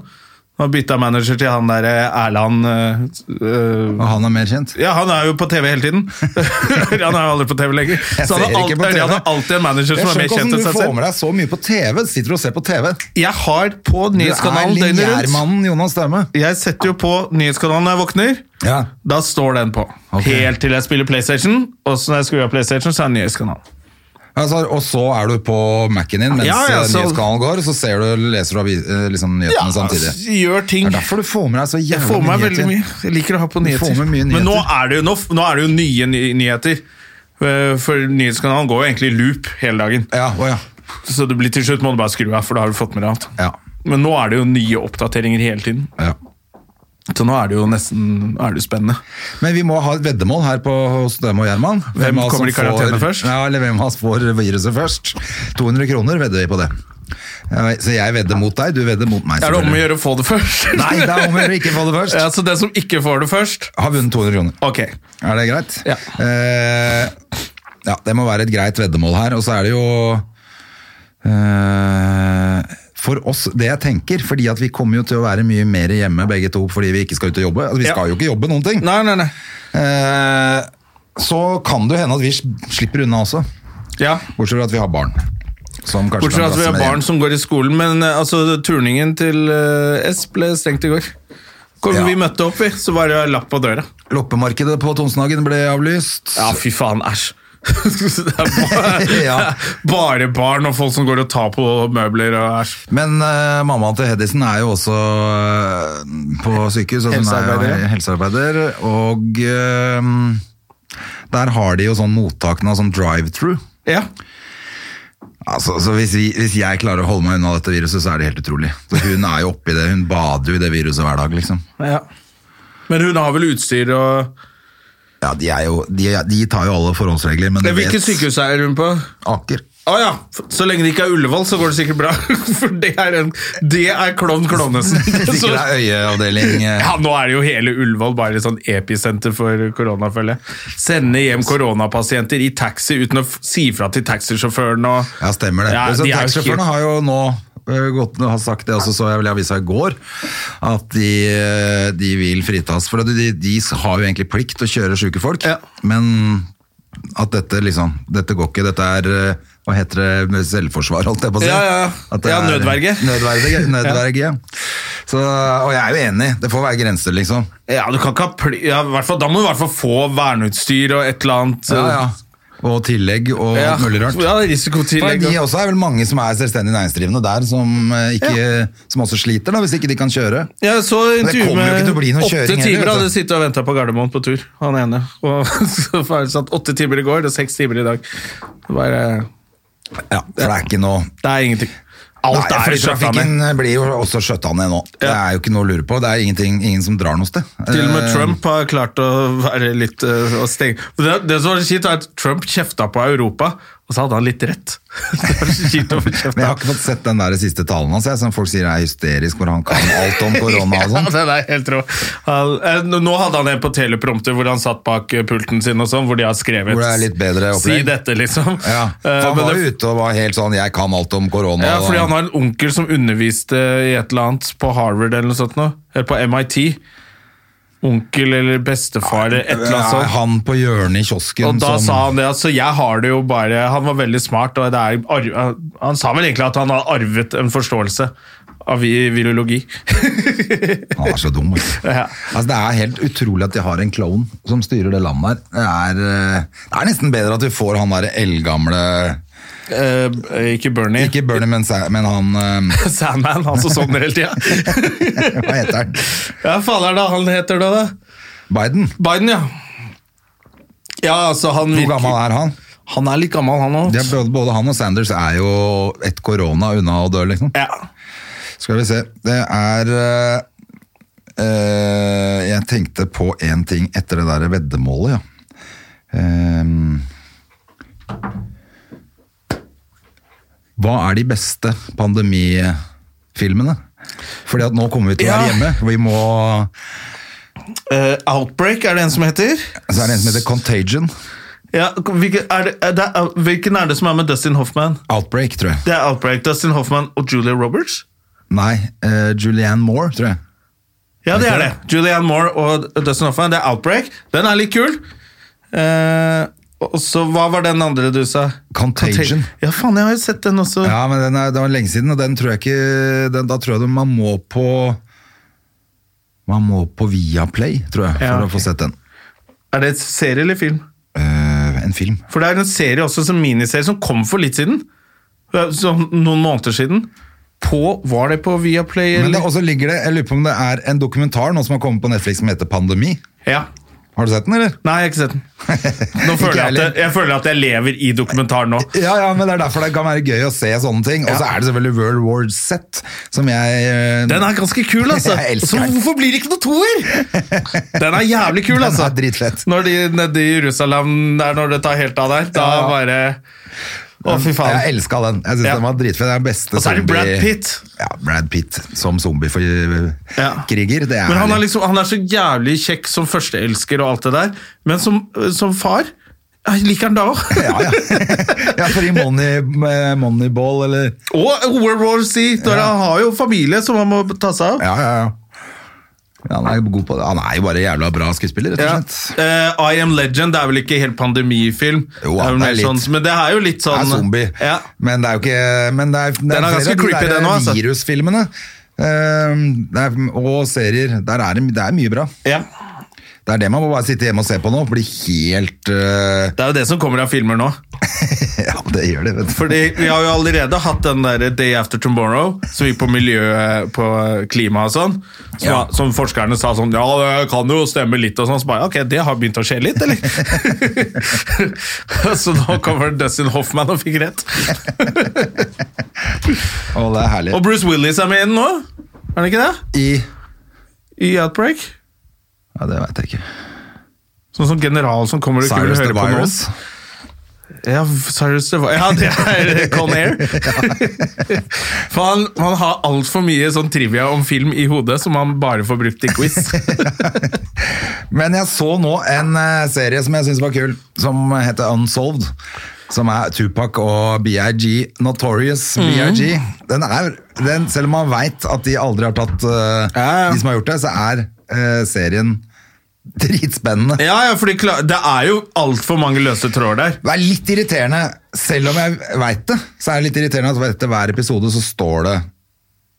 Speaker 1: Og bytta manager til han derre Erland eh, eh,
Speaker 2: Og han er mer kjent.
Speaker 1: ja, han er jo på TV hele
Speaker 2: (laughs)
Speaker 1: tiden. han er jo aldri på TV lenger.
Speaker 2: Jeg
Speaker 1: Så han
Speaker 2: ser ikke
Speaker 1: har, alt,
Speaker 2: på TV.
Speaker 1: han har alltid en manager
Speaker 2: Jeg
Speaker 1: som
Speaker 2: skjønner
Speaker 1: er mer
Speaker 2: ikke
Speaker 1: kjent
Speaker 2: hvordan du
Speaker 1: enn seg
Speaker 2: får
Speaker 1: selv.
Speaker 2: med deg så mye på TV. Sitter og ser på TV.
Speaker 1: Jeg har på
Speaker 2: Du er
Speaker 1: nyhetskanalen døgnet rundt.
Speaker 2: lineærmannen Jonas Daune.
Speaker 1: Jeg setter jo på nyhetskanalen når jeg våkner.
Speaker 2: Ja.
Speaker 1: Da står den på.
Speaker 2: Ok.
Speaker 1: Helt til jeg spiller PlayStation, og så når jeg skrur av PlayStation, så er det nyhetskanalen.
Speaker 2: Altså, og så er du på Mac-en din mens
Speaker 1: Ja, ja,
Speaker 2: eh,
Speaker 1: så-
Speaker 2: nyhetskanalen går, og så ser du, leser du avi- eh, liksom, nyhetene samtidig.
Speaker 1: s- gjør ting.
Speaker 2: Det er derfor du får med deg så
Speaker 1: Jeg
Speaker 2: jævlig
Speaker 1: får med meg
Speaker 2: mye
Speaker 1: veldig
Speaker 2: nyheter.
Speaker 1: mye. Jeg liker å ha på
Speaker 2: Du
Speaker 1: nyheter.
Speaker 2: får med mye
Speaker 1: Men nå
Speaker 2: nyheter.
Speaker 1: er det jo, nå, f- nå er det jo nye ny nyheter. Eh, For nyhetskanalen går jo egentlig i loop hele dagen.
Speaker 2: Ja, å ja.
Speaker 1: Så det blir til slutt må du bare skru av, for da har du fått med deg alt.
Speaker 2: Ja.
Speaker 1: Men nå er det jo nye oppdateringer hele tiden.
Speaker 2: ja.
Speaker 1: Så nå er det jo nesten er det jo spennende.
Speaker 2: Men vi må ha et veddemål her på, hos dem og Gjerman.
Speaker 1: Hvem
Speaker 2: av oss
Speaker 1: kommer i
Speaker 2: som
Speaker 1: karantene
Speaker 2: får-
Speaker 1: først?
Speaker 2: Ja, eller hvem av oss får viruset først. 200 kroner vedder vi på det. Ja, Så jeg vedder mot deg, du vedder mot meg.
Speaker 1: Er det om å
Speaker 2: selvfølgelig.
Speaker 1: gjøre å få det først?
Speaker 2: Nei, det er om å gjøre å ikke få det først.
Speaker 1: Ja, så den som ikke får det først
Speaker 2: Har vunnet 200 kroner.
Speaker 1: Ok.
Speaker 2: Er det greit?
Speaker 1: Ja.
Speaker 2: Eh, ja, det må være et greit veddemål her. Og så er det jo eh, For oss, det jeg tenker, fordi at vi kommer jo til å være mye mer hjemme begge to fordi vi ikke skal ut og jobbe. Altså, vi
Speaker 1: Ja.
Speaker 2: skal jo ikke jobbe noen ting.
Speaker 1: Nei, nei, nei.
Speaker 2: Eh, så kan det jo hende at vi slipper unna også.
Speaker 1: Ja.
Speaker 2: Bortsett fra at vi har barn. Som kanskje
Speaker 1: Bortsett
Speaker 2: kan
Speaker 1: fra at vi
Speaker 2: drasse
Speaker 1: har
Speaker 2: med
Speaker 1: barn
Speaker 2: hjem.
Speaker 1: som går i skolen, men eh, altså, turningen til eh, S ble stengt i går. Kom,
Speaker 2: Ja.
Speaker 1: Vi møtte opp, vi, så var det lapp på døra.
Speaker 2: Loppemarkedet på Tonsenhagen ble avlyst.
Speaker 1: Ja, fy faen, æsj. (laughs) det er bare, (laughs)
Speaker 2: Ja.
Speaker 1: bare barn og folk som går og tar på møbler og æsj.
Speaker 2: Men eh, mammaen til Hedisen er jo også eh, på sykehus, og hun er
Speaker 1: Helsearbeider.
Speaker 2: jo helsearbeider. Og eh, der har de jo sånn mottak nå, sånn drive-through.
Speaker 1: Ja.
Speaker 2: Altså, så hvis, vi, hvis jeg klarer å holde meg unna dette viruset, så er det helt utrolig. Så hun er jo oppi det, hun bader jo i det viruset hver dag, liksom.
Speaker 1: ja. Men hun har vel utstyr og
Speaker 2: Ja, de, er jo, de, de tar jo alle forholdsregler, men du
Speaker 1: Hvilket sykehus er hun på? (laughs)
Speaker 2: Aker.
Speaker 1: Å ja, så lenge det ikke er Ullevål, så går det sikkert bra. (laughs) For det er, en, det er klovn Klovnesen.
Speaker 2: Sikkert (laughs) det er øyeavdeling. eh.
Speaker 1: Ja, nå er det jo hele Ullevål bare et sånn episenter for korona, føler jeg. Sende hjem koronapasienter i taxi uten å f- si fra til taxisjåføren og
Speaker 2: Ja, stemmer det.
Speaker 1: Ja,
Speaker 2: Så
Speaker 1: de er jo
Speaker 2: Taxisjåførene
Speaker 1: helt-
Speaker 2: har jo nå øh, gått har sagt det, og så så jeg vel i avisa i går, at de, øh, de vil fritas. For at de, de har jo egentlig plikt til å kjøre syke folk,
Speaker 1: Ja.
Speaker 2: men at dette liksom, dette går ikke, dette er, øh, hva heter det, med selvforsvar, holdt jeg på å si.
Speaker 1: Ja, ja, ja.
Speaker 2: At det
Speaker 1: Ja,
Speaker 2: er-
Speaker 1: nødverge.
Speaker 2: Nødverge,
Speaker 1: (laughs)
Speaker 2: nødverge, ja. Så, og jeg er jo enig, det får være grenser liksom.
Speaker 1: Ja, du kan ikke ha pli... Ja, i hvert fall, da må du i hvert fall få verneutstyr og et eller annet.
Speaker 2: Ja, ja. Og tillegg og
Speaker 1: Ja,
Speaker 2: alt mulig rart.
Speaker 1: ja
Speaker 2: For
Speaker 1: risikotillegg.
Speaker 2: de
Speaker 1: og-
Speaker 2: også er vel mange som er selvstendig næringsdrivende der, som, eh, ikke, som også sliter da, hvis ikke de kan kjøre.
Speaker 1: Ja, så intervju
Speaker 2: kommer jo ikke til å bli
Speaker 1: med
Speaker 2: noe
Speaker 1: åtte
Speaker 2: kjøring heller, altså.
Speaker 1: timer.
Speaker 2: vet du.
Speaker 1: Hadde sittet og venta på Gardermoen på tur, han ene. Og (laughs) så var det satt åtte timer i går og seks timer i dag. Det, bare,
Speaker 2: Ja, for det er ikke noe...
Speaker 1: det er ingenting. Alt
Speaker 2: Nei,
Speaker 1: er
Speaker 2: for
Speaker 1: skjøtta
Speaker 2: trafikken
Speaker 1: ned.
Speaker 2: blir jo også skjøtta ned nå. Det er jo ikke noe å lure på. Det er ingenting, ingen som drar noe sted.
Speaker 1: Til og med
Speaker 2: Eh,
Speaker 1: Trump har klart å være litt eh, å stenge. Det, det som var så kjipt, er at Trump kjefta på Europa, og så hadde han litt rett. (laughs) Det var så kjipt å få
Speaker 2: Men jeg
Speaker 1: kjefta.
Speaker 2: har ikke fått sett den der siste talen hans, jeg, som folk sier er hysterisk, hvor han kan alt om korona og
Speaker 1: (laughs) (laughs) Ja,
Speaker 2: sånn.
Speaker 1: den er helt rå. Han- eh, Nå nå hadde han en på teleprompter hvor han satt bak eh, pulten sin, og sånn, hvor de har skrevet
Speaker 2: Hvor det er litt bedre
Speaker 1: Si
Speaker 2: opplegg.
Speaker 1: dette, liksom.
Speaker 2: Ja,
Speaker 1: Eh,
Speaker 2: for han
Speaker 1: men
Speaker 2: var
Speaker 1: det-
Speaker 2: jo ute og var helt sånn, jeg kan alt om korona.
Speaker 1: Ja,
Speaker 2: og- eh,
Speaker 1: fordi han har en onkel som underviste i et eller annet på Harvard eller noe sånt nå, eller på MIT. Onkel eller bestefar eller et eller annet
Speaker 2: Ja,
Speaker 1: sånt.
Speaker 2: Han sånn- på hjørnet i kiosken.
Speaker 1: Og da
Speaker 2: som-
Speaker 1: sa han det, altså jeg har det jo bare Han var veldig smart, og det er arv, Han sa vel egentlig at han har arvet en forståelse av vi- virologi. (laughs)
Speaker 2: Han er så dum, altså.
Speaker 1: Ja.
Speaker 2: altså. Det er helt utrolig at de har en klovn som styrer det landet her. Det er, eh, det er nesten bedre at vi får han derre eldgamle
Speaker 1: Eh, ikke Bernie.
Speaker 2: Ikke Bernie, men, Sa- men han eh,
Speaker 1: (laughs) Sandman, han som sovner hele tida.
Speaker 2: (laughs) Hva heter han?
Speaker 1: Ja, faen er det han heter da, da?
Speaker 2: Biden.
Speaker 1: Biden, ja. Ja, altså han
Speaker 2: Hvor
Speaker 1: virker-
Speaker 2: gammel er han?
Speaker 1: Han er litt gammel, han
Speaker 2: De
Speaker 1: òg.
Speaker 2: er, både- både han og Sanders er jo et korona unna å dø, liksom.
Speaker 1: Ja.
Speaker 2: Skal vi se. Det er eh, eh, Jeg tenkte på én ting etter det der veddemålet, ja. Ehm. hva er de beste pandemifilmene? Fordi at nå kommer vi til å være
Speaker 1: Ja.
Speaker 2: hjemme. Vi må,
Speaker 1: Eh, Outbreak er det en som heter.
Speaker 2: så altså, er det en som heter Contagion.
Speaker 1: Ja, hvilken, er det, er det, er, hvilken er det som er med Dustin Hoffman?
Speaker 2: Outbreak, tror jeg.
Speaker 1: Det er Outbreak. Dustin Hoffman og Julia Roberts.
Speaker 2: Nei, eh, Julianne Moore, tror jeg.
Speaker 1: Ja, det er det. Julianne Moore og Dustin Hoffman. Det er Outbreak. Den er litt kul. Eh, og så hva var den andre du sa?
Speaker 2: Contagion.
Speaker 1: Ja, faen, jeg har jo sett den også.
Speaker 2: (laughs) Ja, men den er, det var lenge siden, og den tror jeg ikke den, Da tror jeg man må på Man må på Viaplay, tror jeg, for
Speaker 1: Ja,
Speaker 2: å få
Speaker 1: ok.
Speaker 2: sett den.
Speaker 1: Er det et serie eller film?
Speaker 2: Eh, en film.
Speaker 1: For det er en serie også som miniserie som kom for litt siden. Eh, Sånn noen måneder siden. På, var det på Viaplay?
Speaker 2: Men det,
Speaker 1: Eller?
Speaker 2: også ligger det, jeg lurer på om det er en dokumentar nå som har kommet på Netflix som heter Pandemi.
Speaker 1: ja.
Speaker 2: Har du sett den, eller?
Speaker 1: Nei, jeg har ikke sett den. (laughs) Nå
Speaker 2: Ikke
Speaker 1: føler jeg, at
Speaker 2: heller.
Speaker 1: jeg, jeg føler at jeg lever i dokumentaren nå.
Speaker 2: Ja, ja, men det er derfor det kan være gøy å se sånne ting. Og så er det selvfølgelig World War Z, som jeg eh,
Speaker 1: Den er ganske kul, (laughs) altså.
Speaker 2: Jeg elsker
Speaker 1: Så
Speaker 2: den.
Speaker 1: hvorfor blir det ikke noe toer? Den er jævlig kul,
Speaker 2: Den
Speaker 1: altså.
Speaker 2: er dritfett.
Speaker 1: Når de nede i Jerusalem der, når det tar helt av der, da
Speaker 2: Ja.
Speaker 1: bare Å, fy
Speaker 2: Jeg
Speaker 1: faen.
Speaker 2: elska den. Jeg synes
Speaker 1: Ja.
Speaker 2: den var dritfett. Det er den beste
Speaker 1: Og så er det
Speaker 2: zombie-
Speaker 1: Brad Pitt.
Speaker 2: Ja, Brad Pitt som eh,
Speaker 1: Ja.
Speaker 2: zombiekriger. Ja.
Speaker 1: Men han er, liksom, han er så jævlig kjekk som førsteelsker og alt det der, men som, som far jeg liker han da òg.
Speaker 2: Ja, ja. (laughs) ja, for i Money, eh, Moneyball, eller
Speaker 1: (laughs) Og World War Z. når Han har jo familie som han må ta seg av.
Speaker 2: Ja, ja, ja. Ja, Han er, god på det. han er jo bare jævla bra skuespiller, rett og
Speaker 1: Ja.
Speaker 2: slett.
Speaker 1: Eh, I Am Legend det er vel ikke helt pandemifilm,
Speaker 2: Jo,
Speaker 1: det er vel
Speaker 2: det er
Speaker 1: mer
Speaker 2: litt-
Speaker 1: sånn, men det er jo litt
Speaker 2: Det
Speaker 1: sånn
Speaker 2: er zombie.
Speaker 1: Ja.
Speaker 2: Men det er jo ikke men det er, det
Speaker 1: Den er ganske
Speaker 2: flere av
Speaker 1: creepy,
Speaker 2: de der eh,
Speaker 1: den også, altså.
Speaker 2: Virusfilmene ehm, det er, og serier. Der er det, det er mye bra.
Speaker 1: ja.
Speaker 2: Det er det man må bare sitte hjemme og se på nå. Bli helt eh, (laughs)
Speaker 1: Det er jo det som kommer av filmer nå.
Speaker 2: Ja, det gjør det, vet du.
Speaker 1: Fordi Vi har jo allerede hatt den der Day After Tomorrow, som gikk på miljø, eh, på klima og sånn. Som,
Speaker 2: Ja.
Speaker 1: som forskerne sa sånn Ja, det kan jo stemme litt og sånn. Så bare Ok, det har begynt å skje litt, eller? (laughs) så nå kommer Dustin Hoffman og fikk rett.
Speaker 2: Og det er herlig.
Speaker 1: Og Bruce Willis er med i den nå? Er han ikke det?
Speaker 2: I
Speaker 1: I Outbreak?
Speaker 2: Ja, det veit jeg ikke.
Speaker 1: Sånn som general som kommer og ikke vil
Speaker 2: Cyrus
Speaker 1: høre
Speaker 2: the
Speaker 1: på noen.
Speaker 2: Virus.
Speaker 1: Ja, Cyrus the Vi- Ja, det er Con Air.
Speaker 2: (laughs)
Speaker 1: For han, han har altfor mye sånn trivia om film i hodet som han bare får brukt i
Speaker 2: (laughs)
Speaker 1: quiz.
Speaker 2: Men jeg så nå en eh, serie som jeg syns var kul, som heter Unsolved. Som er Tupac og BIG. Notorious
Speaker 1: Mhm.
Speaker 2: BIG. Den er, den, selv om man veit at de aldri har tatt eh,
Speaker 1: Ja, ja.
Speaker 2: de som har gjort det, så er eh, serien dritspennende.
Speaker 1: Ja, ja, for det er jo altfor mange løse tråder der.
Speaker 2: Det er litt irriterende, selv om jeg veit det, så er det litt irriterende at etter hver episode så står det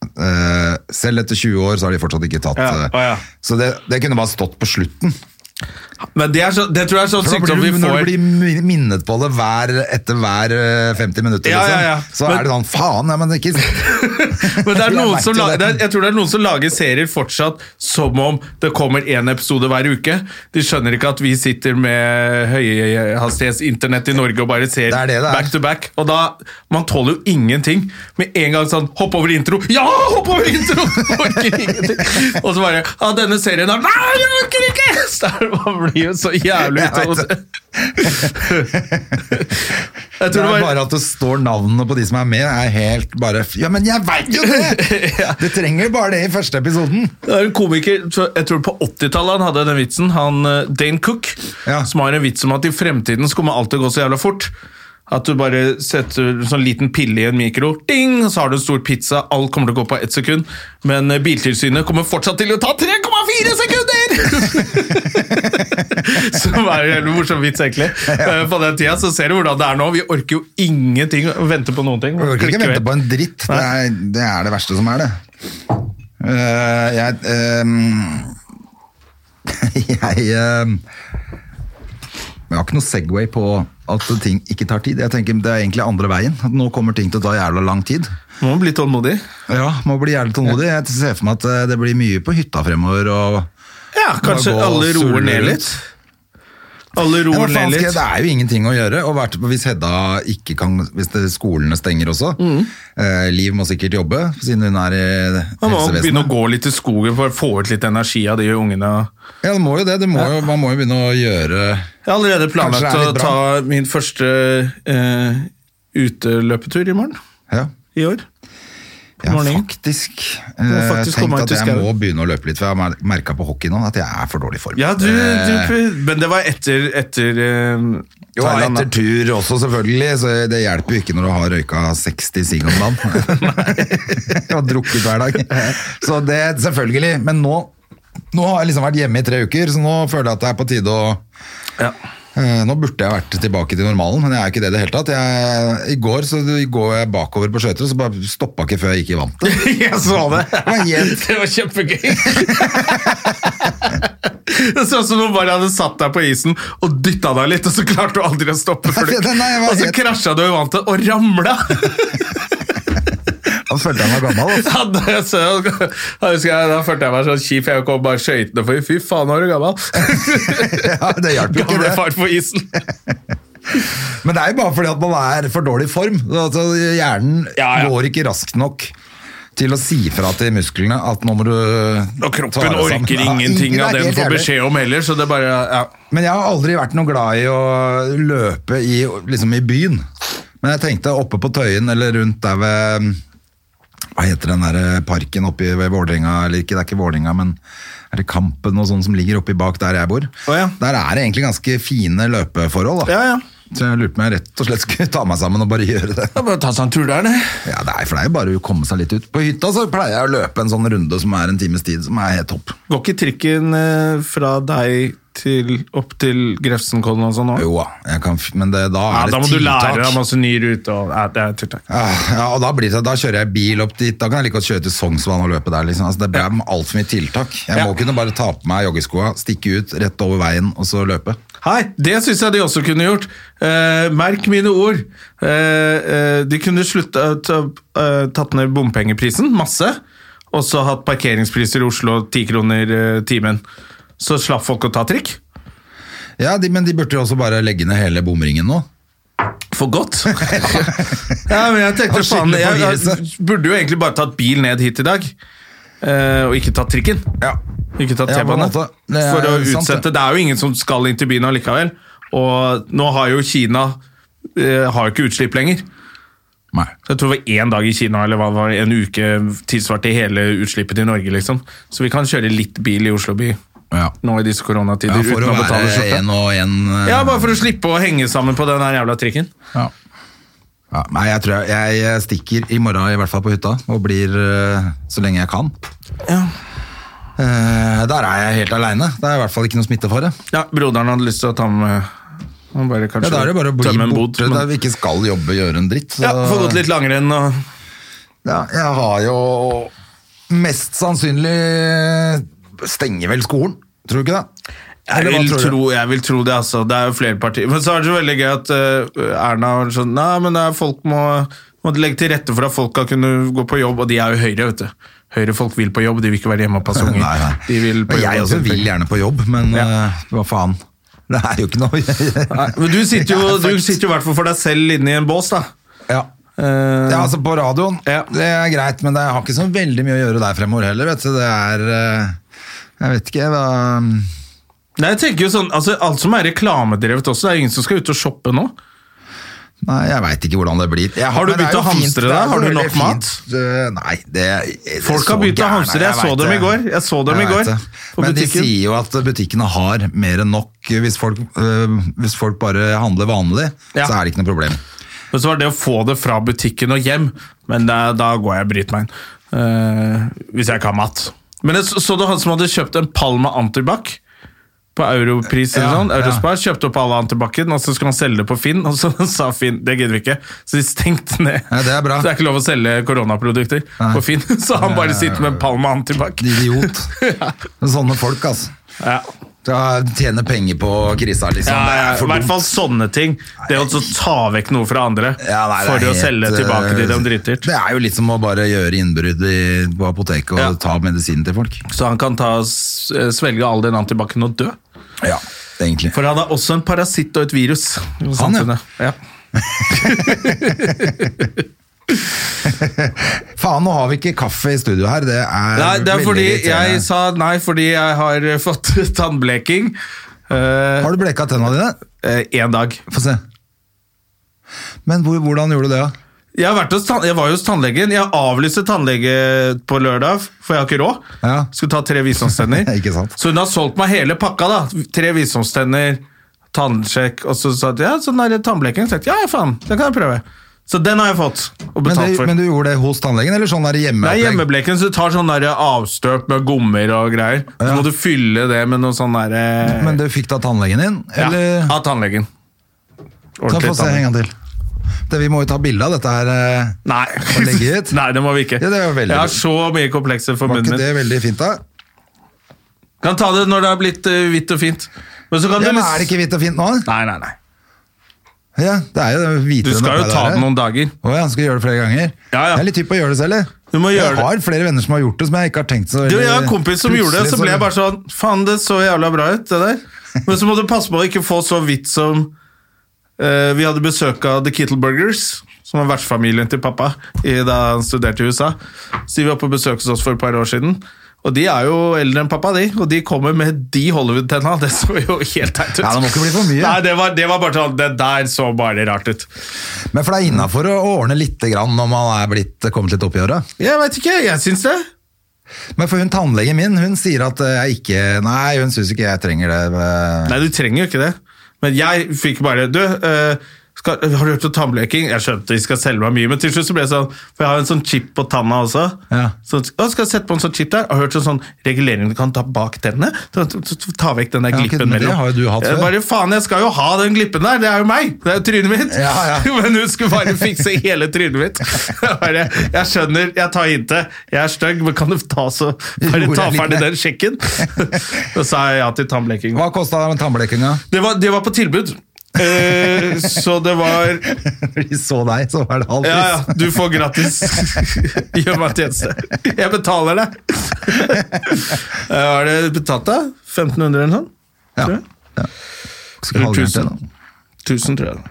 Speaker 2: eh, Selv etter 20 år så har de fortsatt ikke tatt
Speaker 1: Ja,
Speaker 2: eh,
Speaker 1: å ja.
Speaker 2: Så det, det kunne bare stått på slutten.
Speaker 1: Men det, er så, det tror jeg er sånn
Speaker 2: For da
Speaker 1: sykdom
Speaker 2: blir
Speaker 1: vi
Speaker 2: du, når du
Speaker 1: får.
Speaker 2: blir min- minnet på det hver, etter hver eh, 50 minutter,
Speaker 1: Ja,
Speaker 2: liksom,
Speaker 1: ja, ja.
Speaker 2: så
Speaker 1: Men-
Speaker 2: er det sånn Faen, nei, men det er ikke
Speaker 1: Men det er
Speaker 2: (laughs) Jeg
Speaker 1: noen
Speaker 2: merker
Speaker 1: som
Speaker 2: det.
Speaker 1: lager, det er, jeg tror det er noen som lager serier fortsatt som om det kommer én episode hver uke. De skjønner ikke at vi sitter med høyhastighetsinternett i Norge og bare ser
Speaker 2: Det er det det er.
Speaker 1: back to back. Og da, Man tåler jo ingenting. Med en gang sånn 'Hopp over intro'. Ja, hopp over intro! (laughs) Orker ingenting. Og så bare Ja, denne serien her Nei, jeg orker ikke! (laughs) Så er det- Man blir jo så jævlig
Speaker 2: Jeg vet
Speaker 1: utålmodig. (laughs)
Speaker 2: det.
Speaker 1: (laughs) Jeg
Speaker 2: Det
Speaker 1: tror
Speaker 2: er bare at det står navnene på de som er med, er helt bare Ja, men jeg veit jo
Speaker 1: (laughs)
Speaker 2: det! Du trenger bare det i første episoden.
Speaker 1: Det er en komiker, så jeg tror på 80-tallet han hadde den vitsen, han eh, Dane Cook,
Speaker 2: Ja.
Speaker 1: som har en vits om at i fremtiden så kommer alt til å gå så jævla fort. At du bare setter en sånn liten pille i en mikro, ding, så har du en stor pizza, alt kommer til å gå på ett sekund, men eh, Biltilsynet kommer fortsatt til å ta 3,4 sekunder! (laughs) Som er en jævlig morsom vits, egentlig. Eh, På den tida så ser du hvordan det er nå, vi orker jo ingenting å vente på noen ting.
Speaker 2: Du orker ikke
Speaker 1: Klikker
Speaker 2: vente
Speaker 1: vi.
Speaker 2: på en dritt. Det er det, er det verste som er det. Eh, jeg eh, (laughs) Jeg eh, jeg har ikke noe Segway på at ting ikke tar tid. Jeg tenker Det er egentlig andre veien. At nå kommer ting til å ta jævla lang tid.
Speaker 1: Må bli tålmodig.
Speaker 2: Ja, Må bli jævlig tålmodig. Jeg ser for meg at eh, det blir mye på hytta fremover. og...
Speaker 1: Ja, kanskje
Speaker 2: Bare gå og
Speaker 1: alle roer
Speaker 2: sulle
Speaker 1: ned
Speaker 2: rundt.
Speaker 1: litt. Alle
Speaker 2: Ja,
Speaker 1: roer
Speaker 2: hva faen
Speaker 1: ned
Speaker 2: skal
Speaker 1: litt.
Speaker 2: jeg- det er jo ingenting å gjøre. Og hvert, hvis Hedda ikke kan Hvis det, skolene stenger også.
Speaker 1: Mm.
Speaker 2: Eh, Liv må sikkert jobbe, siden hun er i
Speaker 1: Man må begynne å
Speaker 2: helsevesenet.
Speaker 1: gå litt i skogen for å få ut litt energi av de ungene.
Speaker 2: Ja, det må jo det. det må jo, man må jo begynne å gjøre
Speaker 1: Jeg har allerede
Speaker 2: Kanskje
Speaker 1: planlagt
Speaker 2: det er
Speaker 1: å
Speaker 2: litt bra.
Speaker 1: ta min første eh, uteløpetur i morgen.
Speaker 2: Ja,
Speaker 1: I år.
Speaker 2: jeg har
Speaker 1: Morning.
Speaker 2: faktisk,
Speaker 1: må
Speaker 2: eh,
Speaker 1: faktisk komme
Speaker 2: tenkt at
Speaker 1: meg ut i
Speaker 2: jeg
Speaker 1: skauen.
Speaker 2: må begynne å løpe litt, for jeg har merka på hockey nå at jeg er for dårlig i form.
Speaker 1: Ja, du,
Speaker 2: Eh,
Speaker 1: du Men det var etter, etter eh,
Speaker 2: jo,
Speaker 1: Thailand,
Speaker 2: etter
Speaker 1: da.
Speaker 2: tur også, selvfølgelig. Så det hjelper jo ikke når du har røyka 60 sigg om (laughs)
Speaker 1: (laughs)
Speaker 2: dagen. og drukket hver dag. Så det, selvfølgelig. Men nå Nå har jeg liksom vært hjemme i tre uker, så nå føler jeg at det er på tide å
Speaker 1: Ja.
Speaker 2: eh, Nå burde jeg vært tilbake til normalen, men jeg er jo ikke det i det hele tatt. Jeg, I går så går jeg bakover på skøyter, og så bare stoppa ikke før jeg gikk i vann.
Speaker 1: Jeg
Speaker 2: altså.
Speaker 1: så det!
Speaker 2: var
Speaker 1: (laughs)
Speaker 2: helt-
Speaker 1: Det var kjempegøy. Det så ut som om bare hadde satt deg på isen og dytta deg litt, og så klarte du aldri å stoppe. Før du,
Speaker 2: Nei, jeg var
Speaker 1: og så
Speaker 2: helt-
Speaker 1: krasja du i vannet og ramla!
Speaker 2: (laughs) Da følte jeg meg gammel. Altså.
Speaker 1: Ja, det så jeg- Da husker jeg, da følte jeg meg sånn kjip, jeg kom bare skøytene for fy faen, nå er du gammel.
Speaker 2: Ja, det hjalp jo ikke, (laughs) det.
Speaker 1: Gamle far på isen.
Speaker 2: Men det er jo bare fordi at man er for dårlig i form. Altså, hjernen
Speaker 1: Ja, ja.
Speaker 2: går ikke raskt nok til å si fra til musklene at nå må du
Speaker 1: Og
Speaker 2: ta
Speaker 1: kroppen
Speaker 2: deg sammen.
Speaker 1: orker
Speaker 2: Ja,
Speaker 1: ingenting
Speaker 2: sånn. det er
Speaker 1: av det den
Speaker 2: helt
Speaker 1: får
Speaker 2: jævlig.
Speaker 1: beskjed om heller, så det er bare ja.
Speaker 2: Men jeg har aldri vært noe glad i å løpe i, liksom i byen. Men jeg tenkte oppe på Tøyen eller rundt der ved Hva heter den der eh, parken oppe i- ved Vålerenga? Eller ikke, det er ikke Vålerenga, men er det Kampen og sånn som ligger oppi bak der jeg bor?
Speaker 1: ja.
Speaker 2: Der er det egentlig ganske fine løpeforhold. da.
Speaker 1: Ja, ja.
Speaker 2: Så jeg lurte på om jeg rett og slett skulle ta meg sammen og bare (laughs) gjøre det.
Speaker 1: Da bare ta seg en tur der, det.
Speaker 2: Ja, det er, For det er jo bare å komme seg litt ut. På hytta så pleier jeg å løpe en sånn runde som er en times tid, som er helt topp.
Speaker 1: Går ikke trikken eh, fra deg til, opp til Grefsenkollen og sånn nå?
Speaker 2: Jo da, jeg kan f- men det, da
Speaker 1: Ja,
Speaker 2: er
Speaker 1: da
Speaker 2: det
Speaker 1: må du lære
Speaker 2: tiltak.
Speaker 1: deg masse ny rute. Og, ja, det er tiltak.
Speaker 2: Ja, Ah, ja, og da, blir det, da kjører jeg bil opp dit. Da kan jeg like godt kjøre til Sognsvann og løpe der. Liksom. Altså, det ble ja. altfor mye tiltak. Jeg må
Speaker 1: Ja.
Speaker 2: kunne bare ta på meg joggeskoa, stikke ut rett over veien og så løpe.
Speaker 1: Hei, det syns jeg de også kunne gjort. Eh, merk mine ord. Eh, eh, de kunne slutta, ta, eh, tatt ned bompengeprisen masse, og så hatt parkeringspriser i Oslo ti kroner eh, timen. Så slapp folk å ta trikk.
Speaker 2: Ja, de, Men de burde jo også bare legge ned hele bomringen nå.
Speaker 1: For godt? ja, men jeg tenkte
Speaker 2: Han
Speaker 1: faen,
Speaker 2: skylder på
Speaker 1: jeg, jeg
Speaker 2: viruset.
Speaker 1: burde jo egentlig bare tatt bil ned hit i dag. eh, og ikke tatt trikken.
Speaker 2: Ja.
Speaker 1: Ikke tatt
Speaker 2: Ja, på en
Speaker 1: T-bane.
Speaker 2: måte. Det er
Speaker 1: For å
Speaker 2: sant,
Speaker 1: utsette.
Speaker 2: det.
Speaker 1: det er jo ingen som skal inn til byen allikevel. Og nå har jo Kina eh, har jo ikke utslipp lenger.
Speaker 2: Nei.
Speaker 1: Så Jeg tror det var én dag i Kina eller hva det var en uke tilsvarte hele utslippet i Norge. liksom. Så vi kan kjøre litt bil i Oslo by
Speaker 2: Ja.
Speaker 1: nå i disse
Speaker 2: Ja,
Speaker 1: koronatider
Speaker 2: for
Speaker 1: uten
Speaker 2: å
Speaker 1: å betale
Speaker 2: være
Speaker 1: skjorte.
Speaker 2: en og en eh,
Speaker 1: Ja, Bare for å slippe å henge sammen på den der jævla trikken.
Speaker 2: ja. Ja, nei, jeg tror jeg, jeg stikker i morgen, i hvert fall på hytta, og blir eh, så lenge jeg kan. Eh, der er jeg helt aleine. Det er i hvert fall ikke noe smittefare.
Speaker 1: Ja, Broderen hadde lyst til å ta med han bare
Speaker 2: Ja,
Speaker 1: kanskje
Speaker 2: da er det bare å bli
Speaker 1: tømme en bod,
Speaker 2: borte
Speaker 1: men-
Speaker 2: der vi ikke skal jobbe, gjøre en dritt. så-
Speaker 1: Ja, Få gått litt langrenn og
Speaker 2: Ja, jeg har jo mest sannsynlig stenger vel skolen, tror du ikke det?
Speaker 1: jeg
Speaker 2: Eller hva
Speaker 1: vil,
Speaker 2: tror du?
Speaker 1: tro, jeg vil tro det, altså. Det er jo flere partier. Men så er det så veldig gøy at eh, Erna var sånn Nei, men det er folk må, må legge til rette for at folk skal kunne gå på jobb, og de er jo Høyre, vet du. Høyre-folk vil på jobb, de vil ikke være hjemme og passe
Speaker 2: (laughs)
Speaker 1: unger.
Speaker 2: Nei, nei.
Speaker 1: De vil på
Speaker 2: Men jeg
Speaker 1: jobb og
Speaker 2: også
Speaker 1: tjene
Speaker 2: vil
Speaker 1: penger.
Speaker 2: gjerne på jobb, men
Speaker 1: Ja.
Speaker 2: eh, hva faen. Det er jo ikke noe
Speaker 1: Nei, men du sitter
Speaker 2: (laughs)
Speaker 1: jo
Speaker 2: Jeg er
Speaker 1: du
Speaker 2: fucked.
Speaker 1: sitter jo i hvert fall for deg selv inne i en bås, da.
Speaker 2: ja.
Speaker 1: Eh,
Speaker 2: ja, altså på radioen.
Speaker 1: Ja.
Speaker 2: Det er greit, men det har ikke så veldig mye å gjøre der fremover heller, vet du. Det er eh, Jeg vet ikke hva
Speaker 1: Nei, jeg tenker jo sånn, altså Alt som er reklamedrevet også, det er ingen som skal ut og shoppe nå.
Speaker 2: Nei, jeg veit ikke hvordan det blir. Jeg,
Speaker 1: Har du
Speaker 2: men det er
Speaker 1: begynt
Speaker 2: jo
Speaker 1: å hamstre
Speaker 2: fint, det er
Speaker 1: deg? Har du
Speaker 2: veldig
Speaker 1: nok mat?
Speaker 2: fint, eh, Nei, det, det
Speaker 1: Folk
Speaker 2: så
Speaker 1: har begynt å
Speaker 2: gærne,
Speaker 1: hamstre. Jeg så
Speaker 2: vet
Speaker 1: dem i
Speaker 2: det.
Speaker 1: går. Jeg så dem i
Speaker 2: vet
Speaker 1: går
Speaker 2: det.
Speaker 1: på
Speaker 2: Men de
Speaker 1: butikken.
Speaker 2: sier jo at butikkene har mer enn nok. Hvis folk, eh, hvis folk bare handler vanlig,
Speaker 1: Ja.
Speaker 2: så er det ikke noe problem.
Speaker 1: Men så var det det å få det fra butikken og hjem. Men da- da går jeg og bryter meg inn. Eh, hvis jeg ikke har mat. Men jeg så, så du han som hadde kjøpt en pall med antibac? På europris eller
Speaker 2: Ja,
Speaker 1: sånn.
Speaker 2: ja.
Speaker 1: Eurospar kjøpte opp all antibac-en, og så skulle han selge det på Finn, og så (laughs) sa Finn det gidder vi ikke. Så de stengte ned.
Speaker 2: Ja, det er bra.
Speaker 1: Så det er ikke lov å selge koronaprodukter på Finn. (laughs) Så han bare sitter med en pall med antibac.
Speaker 2: Idiot.
Speaker 1: (laughs)
Speaker 2: Sånne folk, altså.
Speaker 1: Ja.
Speaker 2: Da Tjener penger på krisa, liksom.
Speaker 1: Ja,
Speaker 2: det
Speaker 1: ja,
Speaker 2: er
Speaker 1: I
Speaker 2: for
Speaker 1: hvert
Speaker 2: dumt.
Speaker 1: fall sånne ting. Det å så ta vekk noe fra andre
Speaker 2: Ja, nei, det
Speaker 1: for
Speaker 2: er helt, øh,
Speaker 1: å
Speaker 2: eh,
Speaker 1: selge tilbake til dem dritdyrt.
Speaker 2: Det er jo litt som å bare gjøre innbrudd i- på apoteket og
Speaker 1: Ja.
Speaker 2: ta medisinen til folk.
Speaker 1: Så han kan ta, s- eh, svelge all den antibacen og dø.
Speaker 2: Ja, egentlig.
Speaker 1: For han har også en parasitt og et virus. i samfunnet. ja.
Speaker 2: Faen, nå har vi ikke kaffe i studio her. Det er,
Speaker 1: Nei, det er
Speaker 2: veldig
Speaker 1: fordi
Speaker 2: irriterende.
Speaker 1: jeg sa nei fordi jeg har (laughs) eh, fått tannbleking eh,
Speaker 2: Har du bleka tenna dine?
Speaker 1: eh, en dag.
Speaker 2: Få se. Men hvor, hvordan gjorde du det? da?
Speaker 1: Jeg, har vært hos tann jeg var jo hos tannlegen. Jeg avlyste tannlege på lørdag, for jeg har ikke råd.
Speaker 2: Ja.
Speaker 1: Skulle ta tre visdomstenner.
Speaker 2: (laughs) Ikke sant.
Speaker 1: Så hun har solgt meg hele pakka. da. Tre visdomstenner, tannsjekk, og så sa hun ja, sånn der tannbleking. Så tenkte jeg, ja, ja, faen, det kan jeg prøve. Så den har jeg fått og
Speaker 2: Men
Speaker 1: betalt
Speaker 2: du,
Speaker 1: for.
Speaker 2: men du gjorde det hos tannlegen, eller sånn der
Speaker 1: Det er
Speaker 2: hjemmeopplegg?
Speaker 1: hjemmebleken, så du tar sånn der avstøp med gommer og greier. Så må du fylle det med noe sånn derre
Speaker 2: Men du fikk da tannlegen din? Eller?
Speaker 1: Ja, av tannlegen.
Speaker 2: Ta
Speaker 1: Ordentlig
Speaker 2: få se en gang til. Det, vi må jo ta bilde av dette her. eh.
Speaker 1: Nei.
Speaker 2: (laughs) Og legge ut.
Speaker 1: (laughs) Nei, det må vi ikke.
Speaker 2: Ja, det er jo veldig-
Speaker 1: jeg har så mye komplekser for
Speaker 2: Var
Speaker 1: munnen
Speaker 2: ikke
Speaker 1: min.
Speaker 2: det veldig fint, da?
Speaker 1: Kan ta det når det har blitt eh, hvitt og fint. Men så kan
Speaker 2: Ja,
Speaker 1: du
Speaker 2: men Er det ikke hvitt og fint nå?
Speaker 1: Nei, nei, nei.
Speaker 2: Ja, det er jo det
Speaker 1: Du
Speaker 2: hvitere
Speaker 1: skal jo ta det noen dager.
Speaker 2: Å ja, skal jeg gjøre det flere ganger?
Speaker 1: Ja, ja.
Speaker 2: Det er litt hypp å gjøre det selv, jeg.
Speaker 1: Du må gjøre
Speaker 2: jeg
Speaker 1: det.
Speaker 2: har flere venner som har gjort det, som jeg ikke har tenkt så
Speaker 1: Du,
Speaker 2: veldig-
Speaker 1: jeg har en kompis som gjorde det, så
Speaker 2: Plutselig
Speaker 1: ble jeg bare sånn Faen, det så jævla bra ut, det
Speaker 2: (laughs)
Speaker 1: der. Men så må du passe på å ikke få så vidt som eh, Vi hadde besøk av The Kittle Burgers, som var vertsfamilien til pappa i, da han studerte i USA. Så de var på besøk hos oss for et par år siden. Og de er jo eldre enn pappa, de. Og de kommer med de Hollywood-tenna. Det så jo helt teit ut.
Speaker 2: Ja, det må ikke bli for mye.
Speaker 1: Nei, det var, det var bare sånn Det der så bare rart ut.
Speaker 2: Men for det er innafor å ordne lite grann når man er blitt, kommet litt opp i åra.
Speaker 1: Jeg veit ikke, jeg syns det.
Speaker 2: Men for hun tannlegen min, hun sier at eh, jeg ikke Nei, hun syns ikke jeg trenger det. eh.
Speaker 1: Nei, du trenger jo ikke det. Men jeg fikk bare Du, eh, skal, har du hørt om tannbleking? Jeg skjønte de skal selge meg mye, men til slutt så ble det sånn For jeg har en sånn chip på tanna også.
Speaker 2: Ja.
Speaker 1: Så, å, skal jeg sette på en sånn chip der? Jeg har hørt om sånn regulering du kan ta bak tennene. Så, så, så, ta vekk den der
Speaker 2: Ja,
Speaker 1: glippen
Speaker 2: men det
Speaker 1: mellom.
Speaker 2: har jo du hatt
Speaker 1: Jeg
Speaker 2: før.
Speaker 1: bare faen, jeg skal jo ha den glippen der! Det er jo meg! Det er jo trynet mitt!
Speaker 2: Ja, ja.
Speaker 1: (laughs) men hun skulle bare fikse hele trynet
Speaker 2: (laughs)
Speaker 1: mitt. Jeg, bare, jeg skjønner, jeg tar hintet. Jeg er stygg, men kan du ta så Bare
Speaker 2: Gjorde
Speaker 1: ta
Speaker 2: jeg litt mer.
Speaker 1: ferdig den sjekken? (laughs) Så sa jeg ja til tannbleking.
Speaker 2: Hva kosta den (laughs) tannblekinga?
Speaker 1: Det var, det var på tilbud. Eh, så det var
Speaker 2: Når de så deg, så var det halv
Speaker 1: Ja, ja,
Speaker 2: pris.
Speaker 1: du får gratis. Gjør meg en tjeneste. Jeg betaler deg. Eh, Hva er det betalt, da? 1500 eller noe sånt?
Speaker 2: (laughs) Ja.
Speaker 1: Tror jeg.
Speaker 2: Skulle halvere til, da.
Speaker 1: 1000, tror jeg.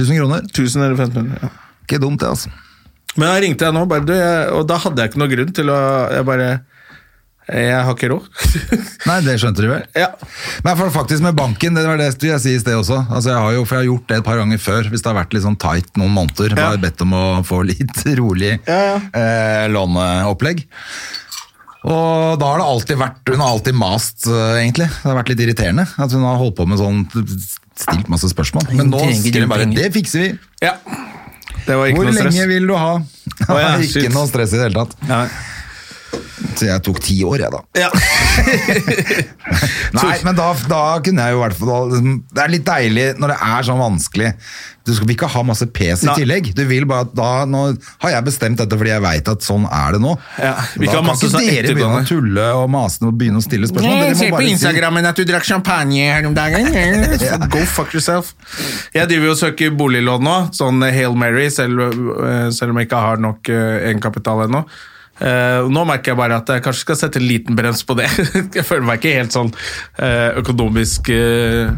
Speaker 2: 1000 kroner.
Speaker 1: 1000 eller 1500, ja.
Speaker 2: Ikke dumt, det, altså.
Speaker 1: Men da ringte jeg nå, bare, du, jeg, og da hadde jeg ikke noe grunn til å Jeg bare Jeg har ikke råd. (laughs)
Speaker 2: Nei, det skjønte du vel?
Speaker 1: ja.
Speaker 2: Men for faktisk med banken, det var det skulle jeg si i sted også. Altså jeg har jo, for jeg har gjort det et par ganger før, hvis det har vært litt sånn tight noen måneder.
Speaker 1: Ja.
Speaker 2: Bare bedt om å få litt (laughs) rolig Eh, låneopplegg. Og da har det alltid vært, hun har alltid mast, eh, egentlig. Det har vært litt irriterende at hun har holdt på med sånn, stilt masse spørsmål. Men nå
Speaker 3: trenger
Speaker 2: skriver hun bare,
Speaker 3: penger.
Speaker 2: det fikser vi.
Speaker 1: ja. Det var ikke
Speaker 2: Hvor
Speaker 1: noe stress.
Speaker 2: lenge vil du ha?
Speaker 1: ja,
Speaker 2: (laughs) ikke
Speaker 1: shit.
Speaker 2: noe stress i det hele tatt.
Speaker 1: Ja.
Speaker 2: Så jeg tok ti år, jeg da.
Speaker 1: Ja.
Speaker 2: Nei, men da, da kunne jeg jo i hvert fall da- liksom, Det er litt deilig når det er sånn vanskelig. Du skal ikke ha masse pes i
Speaker 1: Nei.
Speaker 2: tillegg. Du vil bare at da, Nå har jeg bestemt dette fordi jeg veit at sånn er det nå.
Speaker 1: Ja, vi
Speaker 2: da
Speaker 1: kan ha
Speaker 2: kan
Speaker 1: masse
Speaker 2: ikke
Speaker 1: sånn
Speaker 2: dere begynne
Speaker 1: etterdømmer.
Speaker 2: å tulle og mase og begynne å stille spørsmål. Dere må bare si-
Speaker 1: at du drakk champagne her om dagen. Go fuck yourself. Jeg driver jo og søker boliglån nå, sånn Hail Mary, selv, eh, selv om jeg ikke har nok eh, egenkapital ennå. Eh, nå merker jeg bare at jeg kanskje skal sette en liten brems på det. (laughs) jeg føler meg ikke helt sånn eh, økonomisk eh,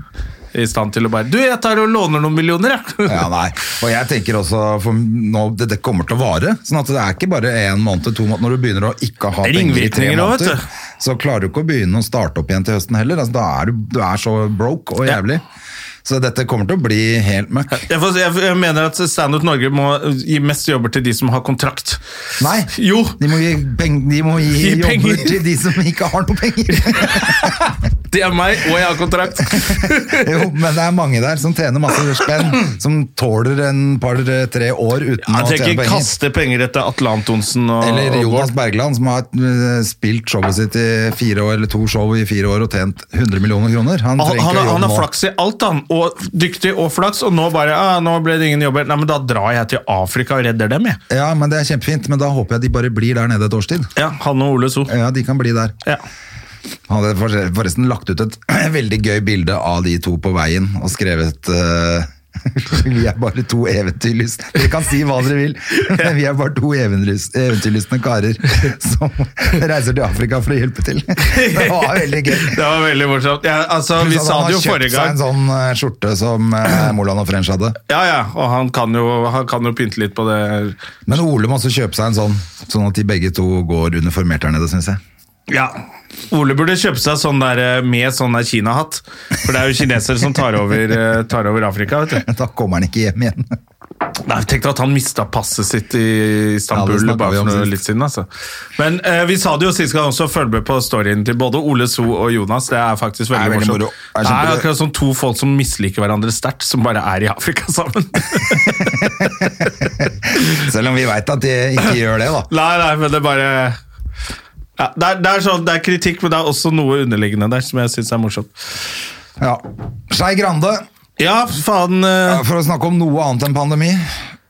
Speaker 1: i stand til å bare Du, jeg tar og låner noen millioner, jeg.
Speaker 2: Ja, nei. Og jeg tenker også for nå, det, det kommer til å vare. Sånn at det er ikke bare én måned til to måneder. Når du begynner å ikke ha
Speaker 1: Det er
Speaker 2: penger i tre
Speaker 1: ringvirkninger også, vet
Speaker 2: måneder, så klarer du ikke å begynne å starte opp igjen til høsten heller. Altså, da er du, du er så broke og
Speaker 1: Ja.
Speaker 2: jævlig. Så dette kommer til å bli helt møkk.
Speaker 1: Jeg, får, jeg, jeg mener at Stand Up Norge må gi mest jobber til de som har kontrakt.
Speaker 2: Nei,
Speaker 1: Jo!
Speaker 2: de må gi, peng, de må gi,
Speaker 1: Gi
Speaker 2: jobber
Speaker 1: penger.
Speaker 2: til de som ikke har noe
Speaker 1: (laughs)
Speaker 2: penger.
Speaker 1: Det er meg, og jeg har kontrakt!
Speaker 2: Jo, men det er mange der som tjener masse spenn, som tåler en par-tre år uten
Speaker 1: Han
Speaker 2: å
Speaker 1: trenger
Speaker 2: tjene
Speaker 1: ikke
Speaker 2: penger.
Speaker 1: kaste penger etter Atle Antonsen og,
Speaker 2: Eller
Speaker 1: og
Speaker 2: Jonas
Speaker 1: Bård.
Speaker 2: Bergland, som har eh, spilt showet sitt i fire år, eller to show i fire år og tjent 100 millioner kroner. Han,
Speaker 1: Han,
Speaker 2: trenger ikke
Speaker 1: han,
Speaker 2: jobb
Speaker 1: han har
Speaker 2: nå.
Speaker 1: flaks i alt, han. Og dyktig og flaks, og nå bare ah, nå ble det ingen jobber. Nei, men da drar jeg til Afrika og redder dem, jeg.
Speaker 2: Ja, men det er kjempefint, men da håper jeg de bare blir der nede et års tid.
Speaker 1: Ja, han og Ole So.
Speaker 2: Ja, de kan bli der.
Speaker 1: Ja.
Speaker 2: Han hadde forre- forresten lagt ut et (clears throat) veldig gøy bilde av de to på veien og skrevet eh, (laughs) Vi er bare to eventyrlyst Dere kan si hva dere vil, (laughs) men vi er bare to eventyrlyst- eventyrlystne karer (laughs) som reiser til Afrika for å hjelpe til. (laughs) Det var veldig gøy.
Speaker 1: Det var veldig morsomt. (laughs) Ja, altså, vi
Speaker 2: Pluss at
Speaker 1: sa
Speaker 2: han har
Speaker 1: det jo
Speaker 2: kjøpt
Speaker 1: forrige
Speaker 2: seg en
Speaker 1: gang.
Speaker 2: sånn eh, skjorte som eh, Moland og French hadde.
Speaker 1: Ja, ja, og han kan jo, han kan jo pynte litt på det.
Speaker 2: Men Ole må også kjøpe seg en sånn, sånn at de begge to går uniformert der nede, syns jeg.
Speaker 1: Ja. Ole burde kjøpe seg sånn der eh, med sånn der Kina-hatt. For det er jo kinesere som tar over, eh, tar over Afrika, vet du.
Speaker 2: Da kommer han ikke hjem igjen. (laughs)
Speaker 1: Nei, jeg tenkte at han mista passet sitt i
Speaker 2: Ja,
Speaker 1: Istanbul
Speaker 2: det snakket
Speaker 1: bare
Speaker 2: vi
Speaker 1: for
Speaker 2: om
Speaker 1: noe
Speaker 2: sist.
Speaker 1: litt siden. Altså. Men eh, vi sa det jo sist gang også, følg med på storyen til både Ole So og Jonas. Det er faktisk veldig,
Speaker 2: Det er veldig moro.
Speaker 1: morsomt.
Speaker 2: Det er
Speaker 1: Det er
Speaker 2: kjempegøy.
Speaker 1: akkurat som to folk som misliker hverandre sterkt, som bare er i Afrika sammen.
Speaker 2: Selv om vi veit at de ikke gjør det, da.
Speaker 1: (laughs) Nei, nei, men det er bare ja, det, er, det, er sånn, det er kritikk, men det er også noe underliggende der som jeg syns er morsomt.
Speaker 2: Ja. Skei Grande,
Speaker 1: Ja, faen eh,
Speaker 2: for å snakke om noe annet enn pandemi.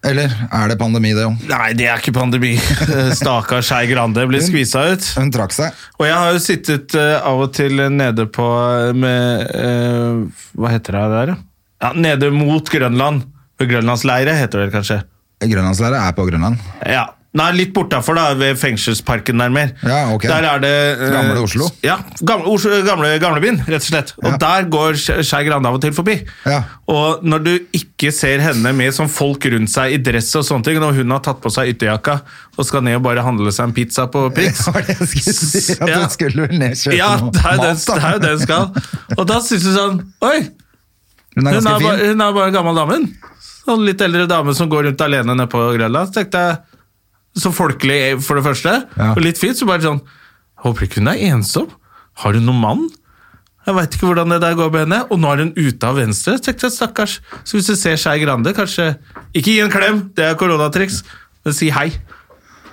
Speaker 2: Eller er det pandemi, det òg?
Speaker 1: Nei, det er ikke pandemi. (laughs) Stakkars Skei Grande blir skvisa ut.
Speaker 2: Hun trakk seg.
Speaker 1: Og jeg har jo sittet eh, av og til nede på eh, med, eh, Hva heter det der, da? Ja, nede mot Grønland. Ved Grønlandsleire, heter det kanskje.
Speaker 2: Grønlandslærer er på Grønland. (laughs)
Speaker 1: Ja. Nei, litt bortafor, da, ved fengselsparken nærmere.
Speaker 2: Ja, ok.
Speaker 1: Der er det eh,
Speaker 2: Gamle Oslo.
Speaker 1: Ja. Gamle, Oslo, gamle, gamlebyen, rett og slett. Og
Speaker 2: Ja.
Speaker 1: der går Sk- Skei Grande av og til forbi.
Speaker 2: Ja.
Speaker 1: Og når du ikke ser henne med sånn folk rundt seg i dress og sånne ting, når hun har tatt på seg ytterjakka og skal ned og bare handle seg en pizza på Prix
Speaker 2: Det var det jeg skulle si, at
Speaker 1: Ja.
Speaker 2: hun skulle vel ned og kjøpe
Speaker 1: Ja,
Speaker 2: noe
Speaker 1: det er jo det,
Speaker 2: mat, da.
Speaker 1: det er jo det hun
Speaker 2: (laughs)
Speaker 1: skal. Og da syns du sånn Oi!
Speaker 2: Hun er
Speaker 1: Hun
Speaker 2: ganske
Speaker 1: er, bare,
Speaker 2: fin.
Speaker 1: hun er bare gammel dame. hun. Sånn litt eldre dame som går rundt alene nede på Grønland. Så tenkte jeg, så folkelig for det første,
Speaker 2: Ja.
Speaker 1: og litt fint, så bare sånn Håper ikke hun er ensom. Har hun noen mann? Jeg veit ikke hvordan det der går med henne. Og nå er hun ute av Venstre. Så tenkte jeg, stakkars. Så hvis du ser Skei Grande, kanskje Ikke gi en klem, det er koronatriks, men si hei.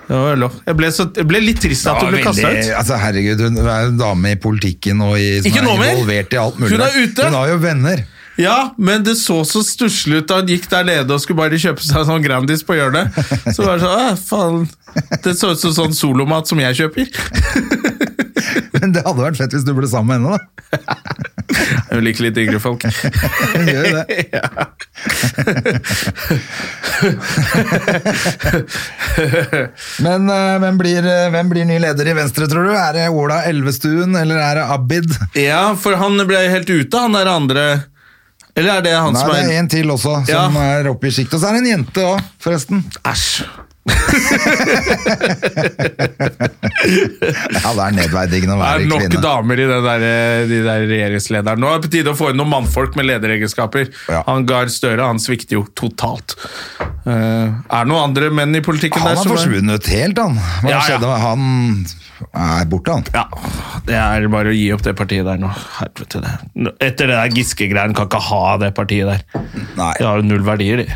Speaker 1: Det var lov. Jeg ble, så, jeg ble litt trist at hun ble kasta ut.
Speaker 2: Altså, herregud, hun er jo en dame i politikken og i, som
Speaker 1: Ikke nå
Speaker 2: er
Speaker 1: mer.
Speaker 2: involvert i alt mulig.
Speaker 1: Hun er ute.
Speaker 2: Hun har jo venner. (laughs)
Speaker 1: Ja, men det så så stusslig ut da han gikk der nede og skulle bare kjøpe seg sånn Grandis på hjørnet. Så var det sånn, «Åh, faen, det så ut som sånn solomat som jeg kjøper.
Speaker 2: Men det hadde vært fett hvis du ble sammen med henne, da.
Speaker 1: Jeg liker litt yngre folk.
Speaker 2: Hun gjør (laughs) jo det. Men eh, hvem, blir, eh, hvem blir ny leder i Venstre, tror du? Er det Ola Elvestuen, eller er det Abid?
Speaker 1: Ja, for han ble helt ute, han der andre. Eller er det han
Speaker 2: Nei,
Speaker 1: som
Speaker 2: det
Speaker 1: er...
Speaker 2: er en til også, som
Speaker 1: Ja.
Speaker 2: er oppe i sikt. Og så er det en jente òg, forresten.
Speaker 1: Æsj.
Speaker 2: Ja, det er nedverdigende å
Speaker 1: Det
Speaker 2: være
Speaker 1: er nok
Speaker 2: kvinne.
Speaker 1: damer i det der, eh, de der regjeringslederen. Nå er det på tide å få inn noen mannfolk med lederegenskaper.
Speaker 2: Ja.
Speaker 1: Han Gahr Støre, han svikter jo totalt. Eh, er det noen andre menn i politikken
Speaker 2: Han
Speaker 1: der?
Speaker 2: har
Speaker 1: som er-
Speaker 2: forsvunnet helt, han. Hva
Speaker 1: Ja, ja.
Speaker 2: skjedde? med- Han er borte, han.
Speaker 1: Ja, det er bare å gi opp det partiet der nå. Helvete det. Nå- Etter det der Giske-greien kan ikke ha det partiet der.
Speaker 2: Nei.
Speaker 1: De har jo null verdier, de.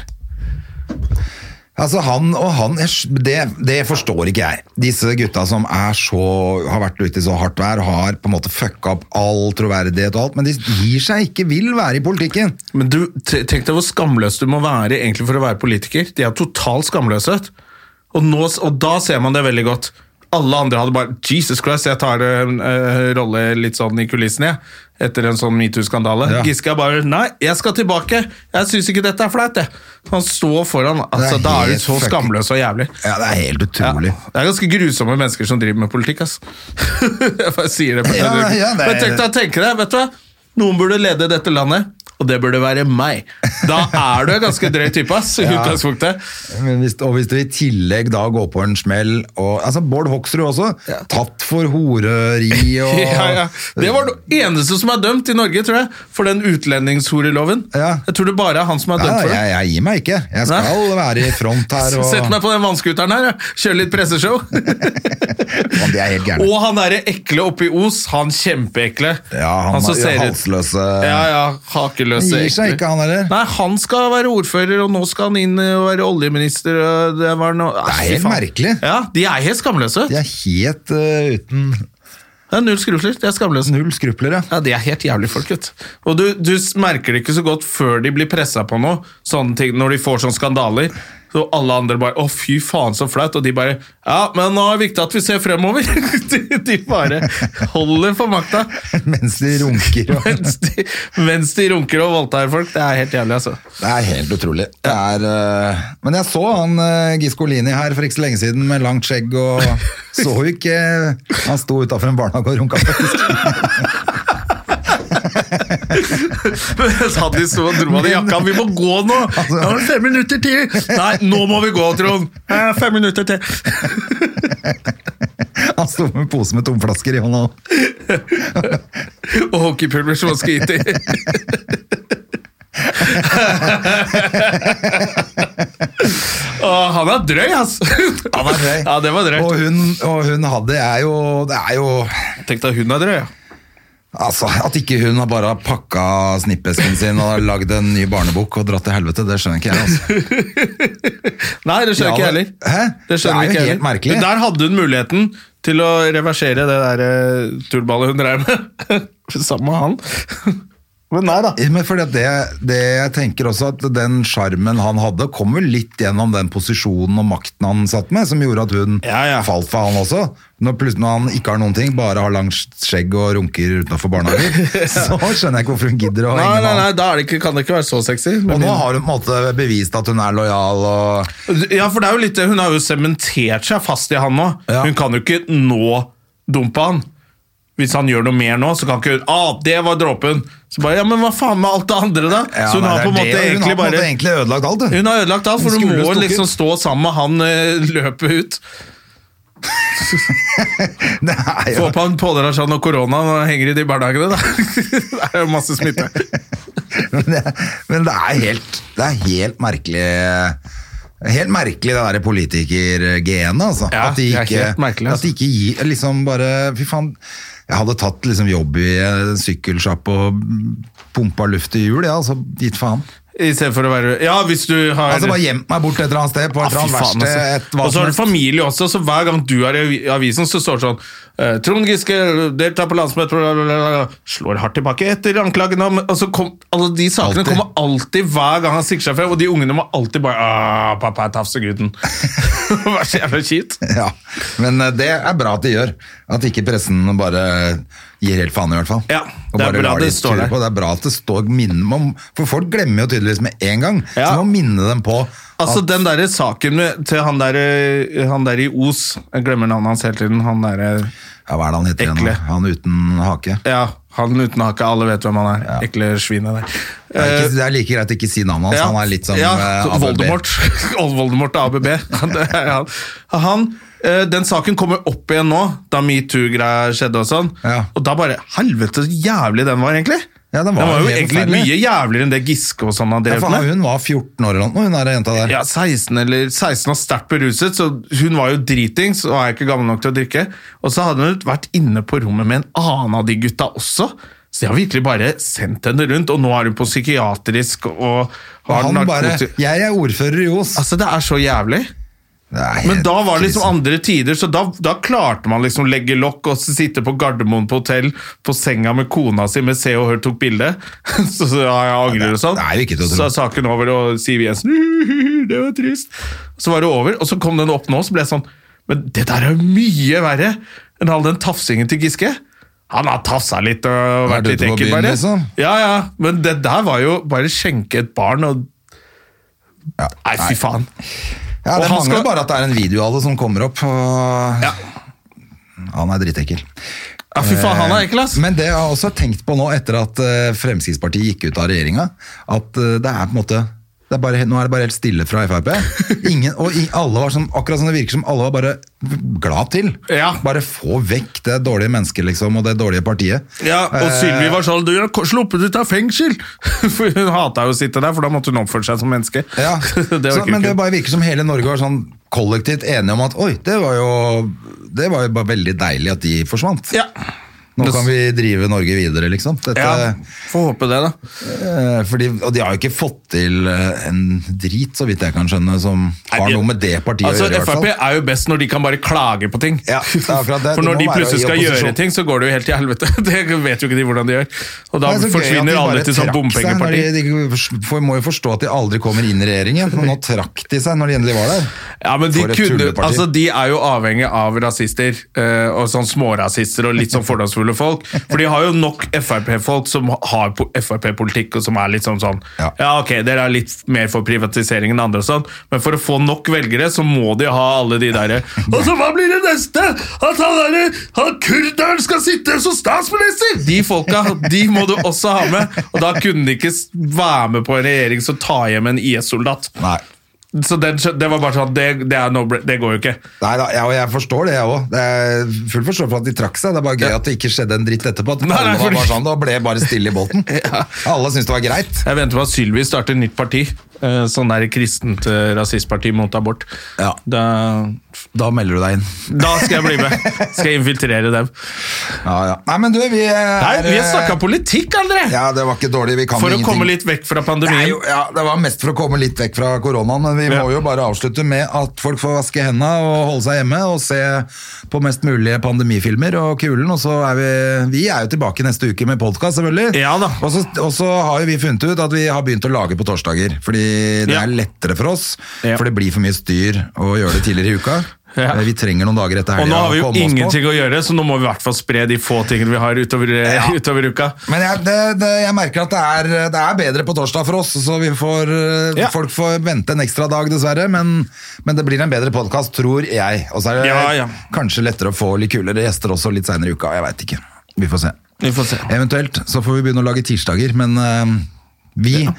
Speaker 2: Altså han og han, jeg sk- det, det forstår ikke jeg. Disse gutta som er så, har vært ute i så hardt vær, har på en måte fucka opp all troverdighet og alt, men de gir seg ikke, vil være i politikken.
Speaker 1: Men du, te- tenk deg hvor skamløs du må være egentlig for å være politiker. De er totalt skamløse. Og, nå, s- og da ser man det veldig godt. Alle andre hadde bare Jesus Christ, jeg tar eh, en eh, rolle litt sånn i kulissene, jeg. Etter en sånn metoo-skandale.
Speaker 2: Ja.
Speaker 1: Giske er bare Nei, jeg skal tilbake! Jeg syns ikke dette er flaut, jeg. Han står foran. Altså, da er
Speaker 2: helt
Speaker 1: du så
Speaker 2: fucking-
Speaker 1: skamløs og jævlig.
Speaker 2: Ja, det er helt utrolig.
Speaker 1: Ja, det er ganske grusomme mennesker som driver med politikk, ass. (laughs) jeg bare sier det. på
Speaker 2: Ja,
Speaker 1: den
Speaker 2: ja, det er-
Speaker 1: Men tenk deg å tenke deg, vet du hva? Noen burde lede dette landet, og det burde være meg. Da er du en ganske drøy type, ass, i
Speaker 2: Ja.
Speaker 1: utgangspunktet.
Speaker 2: Men hvis, og hvis du i tillegg da går på en smell og, altså Bård Hoksrud også. Tatt for
Speaker 1: (laughs)
Speaker 2: horeri og
Speaker 1: Ja, ja. Det var det eneste som er dømt i Norge, tror jeg, for den utlendingshoreloven.
Speaker 2: Ja.
Speaker 1: Jeg tror det bare er han som er
Speaker 2: Ja,
Speaker 1: dømt for det.
Speaker 2: jeg, jeg gir meg ikke. Jeg skal
Speaker 1: Nei.
Speaker 2: være i front her. Og,
Speaker 1: (laughs) Sett meg på den vannskuteren her, ja. kjør
Speaker 2: (laughs)
Speaker 1: litt presseshow.
Speaker 2: Faen, de er helt gærne.
Speaker 1: Og han derre ekle oppe i Os, han kjempeekle.
Speaker 2: Ja, han
Speaker 1: som
Speaker 2: er jo
Speaker 1: ser ut-
Speaker 2: halsløse-
Speaker 1: Ja, ja, hakeløse
Speaker 2: Gir seg
Speaker 1: ekle.
Speaker 2: ikke, han heller.
Speaker 1: Nei, han skal være ordfører, og nå skal han inn og være oljeminister. Og det, var no... det
Speaker 2: er helt merkelig.
Speaker 1: Ja, De er helt skamløse.
Speaker 2: De er helt eh, uten
Speaker 1: Det er null skrufler. De er skamløse.
Speaker 2: null skrupler, ja.
Speaker 1: Ja, De er helt jævlig folk, vet du. Og du, du merker det ikke så godt før de blir pressa på noe, sånne ting, når de får sånne skandaler. Så alle andre bare 'Å, fy faen, så flaut', og de bare 'Ja, men nå er det viktig at vi ser fremover'. (laughs) de, de bare holder for makta.
Speaker 2: (laughs) Mens de runker og
Speaker 1: (laughs) Mens de, mens de runker og voldtar folk. Det er helt jævlig, altså.
Speaker 2: Det er helt utrolig. Det er, eh, men jeg så han uh, Giskolini her for ikke så lenge siden med langt skjegg
Speaker 1: (laughs)
Speaker 2: og så jo ikke Han sto utafor en barnehage og runka, faktisk.
Speaker 1: (laughs) Mens han de sto og dro av deg jakka. Vi må gå nå!
Speaker 2: Altså-
Speaker 1: Nå er det fem minutter til! Nei, nå må vi gå, Trond! Eh, Fem minutter til.
Speaker 2: Han sto med en pose med tomflasker i hånda.
Speaker 1: (laughs) Og hockeypulver som han skal (laughs) hit i. Å, han er drøy, ass! Han
Speaker 2: er drøy.
Speaker 1: Ja, det var
Speaker 2: Og
Speaker 1: drøyt.
Speaker 2: hun, og hun hadde jeg jo Det er jo
Speaker 1: Tenk deg hun er drøy, ja.
Speaker 2: Altså, At ikke hun har bare pakka snippesken sin og har lagd en ny barnebok og dratt til helvete, det skjønner ikke jeg. altså.
Speaker 1: (laughs) Nei, det skjønner
Speaker 2: Ja, det-
Speaker 1: ikke jeg heller.
Speaker 2: Hæ?
Speaker 1: Det
Speaker 2: Det er
Speaker 1: skjønner ikke
Speaker 2: jo
Speaker 1: jeg
Speaker 2: helt
Speaker 1: heller.
Speaker 2: merkelig.
Speaker 1: Men Der hadde hun muligheten til å reversere det der eh, tullballet hun drev med. (laughs) Sammen med han. Men nei da.
Speaker 2: Men fordi at det, det jeg tenker også at Den sjarmen han hadde, kom vel litt gjennom den posisjonen og makten han satt med, som gjorde at hun
Speaker 1: Ja, ja.
Speaker 2: falt for han også. Når, plutselig- når han ikke har noen ting, bare har langt skjegg og runker utenfor
Speaker 1: (laughs)
Speaker 2: barnehager, (laughs) så skjønner jeg ikke hvorfor hun gidder å
Speaker 1: Nei,
Speaker 2: henge med
Speaker 1: nei, nei,
Speaker 2: han.
Speaker 1: da er det ikke, kan det ikke være så sexy.
Speaker 2: Og
Speaker 1: Men-
Speaker 2: nå har hun på en måte bevist at hun er lojal og
Speaker 1: Ja, for det er jo litt det. Hun har jo sementert seg fast i han nå.
Speaker 2: Ja.
Speaker 1: Hun kan jo ikke nå dumpe han. Hvis han gjør noe mer nå, så kan ikke hun ah, 'Det var dråpen'. Så bare, ja, Men hva faen med alt det andre, da?
Speaker 2: Ja,
Speaker 1: så hun
Speaker 2: nei,
Speaker 1: har
Speaker 2: det
Speaker 1: på en
Speaker 2: er det,
Speaker 1: måte
Speaker 2: hun har
Speaker 1: egentlig
Speaker 2: på en måte
Speaker 1: bare
Speaker 2: egentlig ødelagt alt, hun.
Speaker 1: Hun har ødelagt alt, for
Speaker 2: Hun
Speaker 1: hun
Speaker 2: skulle
Speaker 1: må
Speaker 2: stukket.
Speaker 1: liksom stå sammen med han eh, løpet ut.
Speaker 2: (laughs) Det er jo
Speaker 1: Få på han pådrar seg noe korona når han henger i de barnehagene, da. (laughs) det er jo masse smitte.
Speaker 2: (laughs) Men det, men det er helt Det er helt merkelig Helt merkelig det der politikergenet altså.
Speaker 1: Ja,
Speaker 2: at de
Speaker 1: det er
Speaker 2: ikke,
Speaker 1: helt merkelig, altså.
Speaker 2: At de ikke gir liksom bare Fy faen Jeg hadde tatt liksom jobb i en sykkelsjapp og pumpa luft i hjul, ja, altså gitt faen.
Speaker 1: I stedet for å være Ja, hvis du har
Speaker 2: Altså bare gjemt meg bort et eller annet sted på et eller
Speaker 1: Ja,
Speaker 2: annet
Speaker 1: fy faen,
Speaker 2: verksted.
Speaker 1: altså.
Speaker 2: et hva
Speaker 1: Og så
Speaker 2: som
Speaker 1: har du
Speaker 2: helst.
Speaker 1: familie også, så hver gang du er i avisen, så står det sånn eh, Trond Giske deltar på landsmøtet bla, bla, bla, bla, Slår hardt tilbake etter anklagene om altså, kom, altså, De sakene
Speaker 2: Alltid.
Speaker 1: kommer alltid hver gang han stikker seg frem, og de ungene må alltid bare «Ah, 'Pappa er tafsegutten'. (laughs) Hva så jævla kjipt?
Speaker 2: (laughs) Ja, men eh, det er bra at de gjør. At ikke pressen bare gir helt faen i hvert fall.
Speaker 1: Ja,
Speaker 2: Og
Speaker 1: det er
Speaker 2: bare
Speaker 1: bra
Speaker 2: lar
Speaker 1: det
Speaker 2: de
Speaker 1: står
Speaker 2: ture
Speaker 1: der.
Speaker 2: På. Det er bra at det står minne om, for folk glemmer jo tydeligvis med en gang.
Speaker 1: Ja.
Speaker 2: Så man må minne dem på
Speaker 1: Altså,
Speaker 2: at
Speaker 1: den derre saken med, til han der, eh, han der i Os Jeg glemmer navnet hans hele tiden. Han derre
Speaker 2: ja, Hva er det han heter
Speaker 1: Ekle.
Speaker 2: igjen? Han uten hake.
Speaker 1: Ja, han uten hake. Alle vet hvem han er. Ekle svinet der.
Speaker 2: Det er,
Speaker 1: Eh,
Speaker 2: ikke, det er like greit å ikke si navnet hans. Han er litt som
Speaker 1: ja,
Speaker 2: eh,
Speaker 1: så
Speaker 2: ABB.
Speaker 1: Voldemort. (laughs) Old Voldemort og (laughs) ABB. Det er han. han eh, den saken kommer opp igjen nå, da metoo-greia skjedde og sånn.
Speaker 2: Ja.
Speaker 1: Og da bare Helvete, så jævlig den var, egentlig!
Speaker 2: Ja, den var
Speaker 1: jo
Speaker 2: helt
Speaker 1: egentlig
Speaker 2: forferdelig.
Speaker 1: mye jævligere enn det Giske og sånn har
Speaker 2: Ja,
Speaker 1: drevet
Speaker 2: for han,
Speaker 1: med.
Speaker 2: hun var 14 år eller noe, hun der jenta der.
Speaker 1: Ja, 16 eller 16 og sterkt beruset, så hun var jo dritings og er ikke gammel nok til å drikke. Og så hadde hun vært inne på rommet med en annen av de gutta også. Så de har virkelig bare sendt henne rundt, og nå er hun på psykiatrisk og
Speaker 2: Og
Speaker 1: har
Speaker 2: han bare
Speaker 1: narkotik-
Speaker 2: Jeg er ordfører i Os.
Speaker 1: Altså, det er så jævlig.
Speaker 2: Det er
Speaker 1: Men
Speaker 2: helt
Speaker 1: da var det liksom
Speaker 2: krise.
Speaker 1: andre tider, så da, da klarte man liksom å legge lokk og så sitte på Gardermoen på hotell på senga med kona si med Se og Hør tok bilde. (laughs) Så, så ja, jeg angrer og sånn.
Speaker 2: det er jo ikke til å tro.
Speaker 1: Så er saken over, og Siv Jensen (laughs) «Uhuhu, Det var trist. Så var det over, og så kom den opp nå, så ble jeg sånn Men det der er jo mye verre enn all den tafsingen til Giske. Han har tafsa litt og
Speaker 2: Vært
Speaker 1: vært litt
Speaker 2: ute på
Speaker 1: ekkel,
Speaker 2: byen,
Speaker 1: bare.
Speaker 2: liksom.
Speaker 1: Ja, ja. Men det der var jo bare skjenke et barn og
Speaker 2: Ja.
Speaker 1: Nei, fy faen.
Speaker 2: Ja,
Speaker 1: Og
Speaker 2: det
Speaker 1: han
Speaker 2: mangler
Speaker 1: skal-
Speaker 2: bare at det er en video av det som kommer opp. Og... Han er dritekkel.
Speaker 1: Ja, fy faen, han er ekkel, ass.
Speaker 2: Eh, Men det jeg har også tenkt på nå etter at eh, Fremskrittspartiet gikk ut av regjeringa, at eh, det er på en måte det er bare, Nå er det bare helt stille fra
Speaker 1: (laughs)
Speaker 2: Frp. Ingen, og i, alle var som, akkurat som det virker som alle var bare glad til.
Speaker 1: Ja.
Speaker 2: Bare få vekk det dårlige mennesket liksom, og det dårlige partiet.
Speaker 1: Ja, og
Speaker 2: Eh,
Speaker 1: Sylvi var sånn Du er ko- sluppet ut av fengsel! (laughs) For hun hata jo å sitte der, for da måtte hun oppføre seg som menneske.
Speaker 2: (laughs) Ja.
Speaker 1: (laughs) det var
Speaker 2: så,
Speaker 1: ikke
Speaker 2: men det
Speaker 1: kult.
Speaker 2: bare virker som hele Norge var sånn kollektivt enige om at oi, det var jo, det var jo bare veldig deilig at de forsvant.
Speaker 1: ja.
Speaker 2: Nå kan vi drive Norge videre, liksom. Dette,
Speaker 1: ja, Får håpe det, da.
Speaker 2: eh, fordi, og de har jo ikke fått til eh, en drit, så vidt jeg kan skjønnne, som har
Speaker 1: de-
Speaker 2: noe med det partiet å
Speaker 1: Altså,
Speaker 2: gjøre. i hvert
Speaker 1: Frp
Speaker 2: fall.
Speaker 1: er jo best når de kan bare klage på ting.
Speaker 2: Ja, det er akkurat det.
Speaker 1: (laughs) For
Speaker 2: De må
Speaker 1: når de
Speaker 2: være i
Speaker 1: plutselig skal
Speaker 2: opposisjon.
Speaker 1: gjøre ting, så går det jo helt til helvete. (laughs) Det vet jo ikke de hvordan de gjør.
Speaker 2: Det er så
Speaker 1: Og da
Speaker 2: gøy at de
Speaker 1: forsvinner
Speaker 2: bare
Speaker 1: alle til
Speaker 2: trakk
Speaker 1: sånn
Speaker 2: seg når
Speaker 1: bompengeparti.
Speaker 2: De, de for, må jo forstå at de aldri kommer inn i regjeringen, men nå trakk de seg når de endelig var der.
Speaker 1: Ja, men de,
Speaker 2: For et
Speaker 1: kunne,
Speaker 2: tulleparti.
Speaker 1: altså, de er jo avhengig av rasister eh, og sånn smårasister og litt sånn fordomsfulle folk. For de har jo nok Frp-folk som har po- Frp-politikk og som er litt sånn sånn
Speaker 2: Ja.
Speaker 1: ja. ok, dere er litt mer for privatisering enn andre og sånn, men for å få nok velgere så må de ha alle de derre
Speaker 2: (laughs)
Speaker 1: Og så hva blir det neste? At han derre han kurderen skal sitte som statsminister! De folka, de må du også ha med. Og da kunne de ikke s- være med på en regjering som tar hjem en IS-soldat.
Speaker 2: Nei.
Speaker 1: Så den, skjø- det var bare sånn Det, det, er no, det går jo ikke.
Speaker 2: Nei da, ja, og jeg forstår det, jeg òg. Det er full forståelse for at de trakk seg. Det er bare gøy at det ikke skjedde en dritt etterpå. At
Speaker 1: Nei, nei,
Speaker 2: alle var
Speaker 1: fordi-
Speaker 2: bare sånn, Da ble bare stille i
Speaker 1: (laughs)
Speaker 2: båten. Alle syntes det var greit.
Speaker 1: Jeg venter på at Sylvi starter nytt parti. eh, Sånn der kristent eh, rasistparti mot abort.
Speaker 2: Ja.
Speaker 1: Da,
Speaker 2: Da melder du deg inn.
Speaker 1: Da skal jeg bli med. Skal jeg infiltrere dem.
Speaker 2: Ja, ja. Nei, men du, vi eh, er
Speaker 1: Nei, vi har snakka politikk, André!
Speaker 2: Ja, det var ikke dårlig. Vi kan
Speaker 1: For å
Speaker 2: ingenting.
Speaker 1: komme litt vekk fra
Speaker 2: det, er
Speaker 1: pandemien.
Speaker 2: jo, ja, det var mest for å komme litt vekk fra koronaen, men vi
Speaker 1: Ja.
Speaker 2: må jo bare avslutte med at folk får vaske hendene og holde seg hjemme og se på mest mulige pandemifilmer og kulen. Og så er vi, vi er jo tilbake neste uke med podkast, selvfølgelig.
Speaker 1: Ja da.
Speaker 2: Og så, og så har jo vi funnet ut at vi har begynt å lage på torsdager, fordi det
Speaker 1: Ja.
Speaker 2: er lettere for oss.
Speaker 1: Ja.
Speaker 2: For det blir for mye styr å gjøre det tidligere i uka. Eh,
Speaker 1: Ja.
Speaker 2: Vi trenger noen dager etter
Speaker 1: Og
Speaker 2: helga
Speaker 1: nå har
Speaker 2: å
Speaker 1: vi jo
Speaker 2: komme oss på.
Speaker 1: ingenting å gjøre, så nå må vi i hvert fall spre de få tingene vi har utover, eh, utover uka.
Speaker 2: Men jeg, det, det, jeg merker at det er, det er bedre på torsdag for oss, så vi får, eh,
Speaker 1: Ja.
Speaker 2: folk får vente en ekstra dag, dessverre. Men, men det blir en bedre podkast, tror jeg. Og så er det
Speaker 1: Ja, ja.
Speaker 2: kanskje lettere å få litt kulere gjester også litt seinere i uka. Jeg veit ikke. Vi får se.
Speaker 1: Vi får se.
Speaker 2: Eventuelt så får vi begynne å lage tirsdager, men eh, vi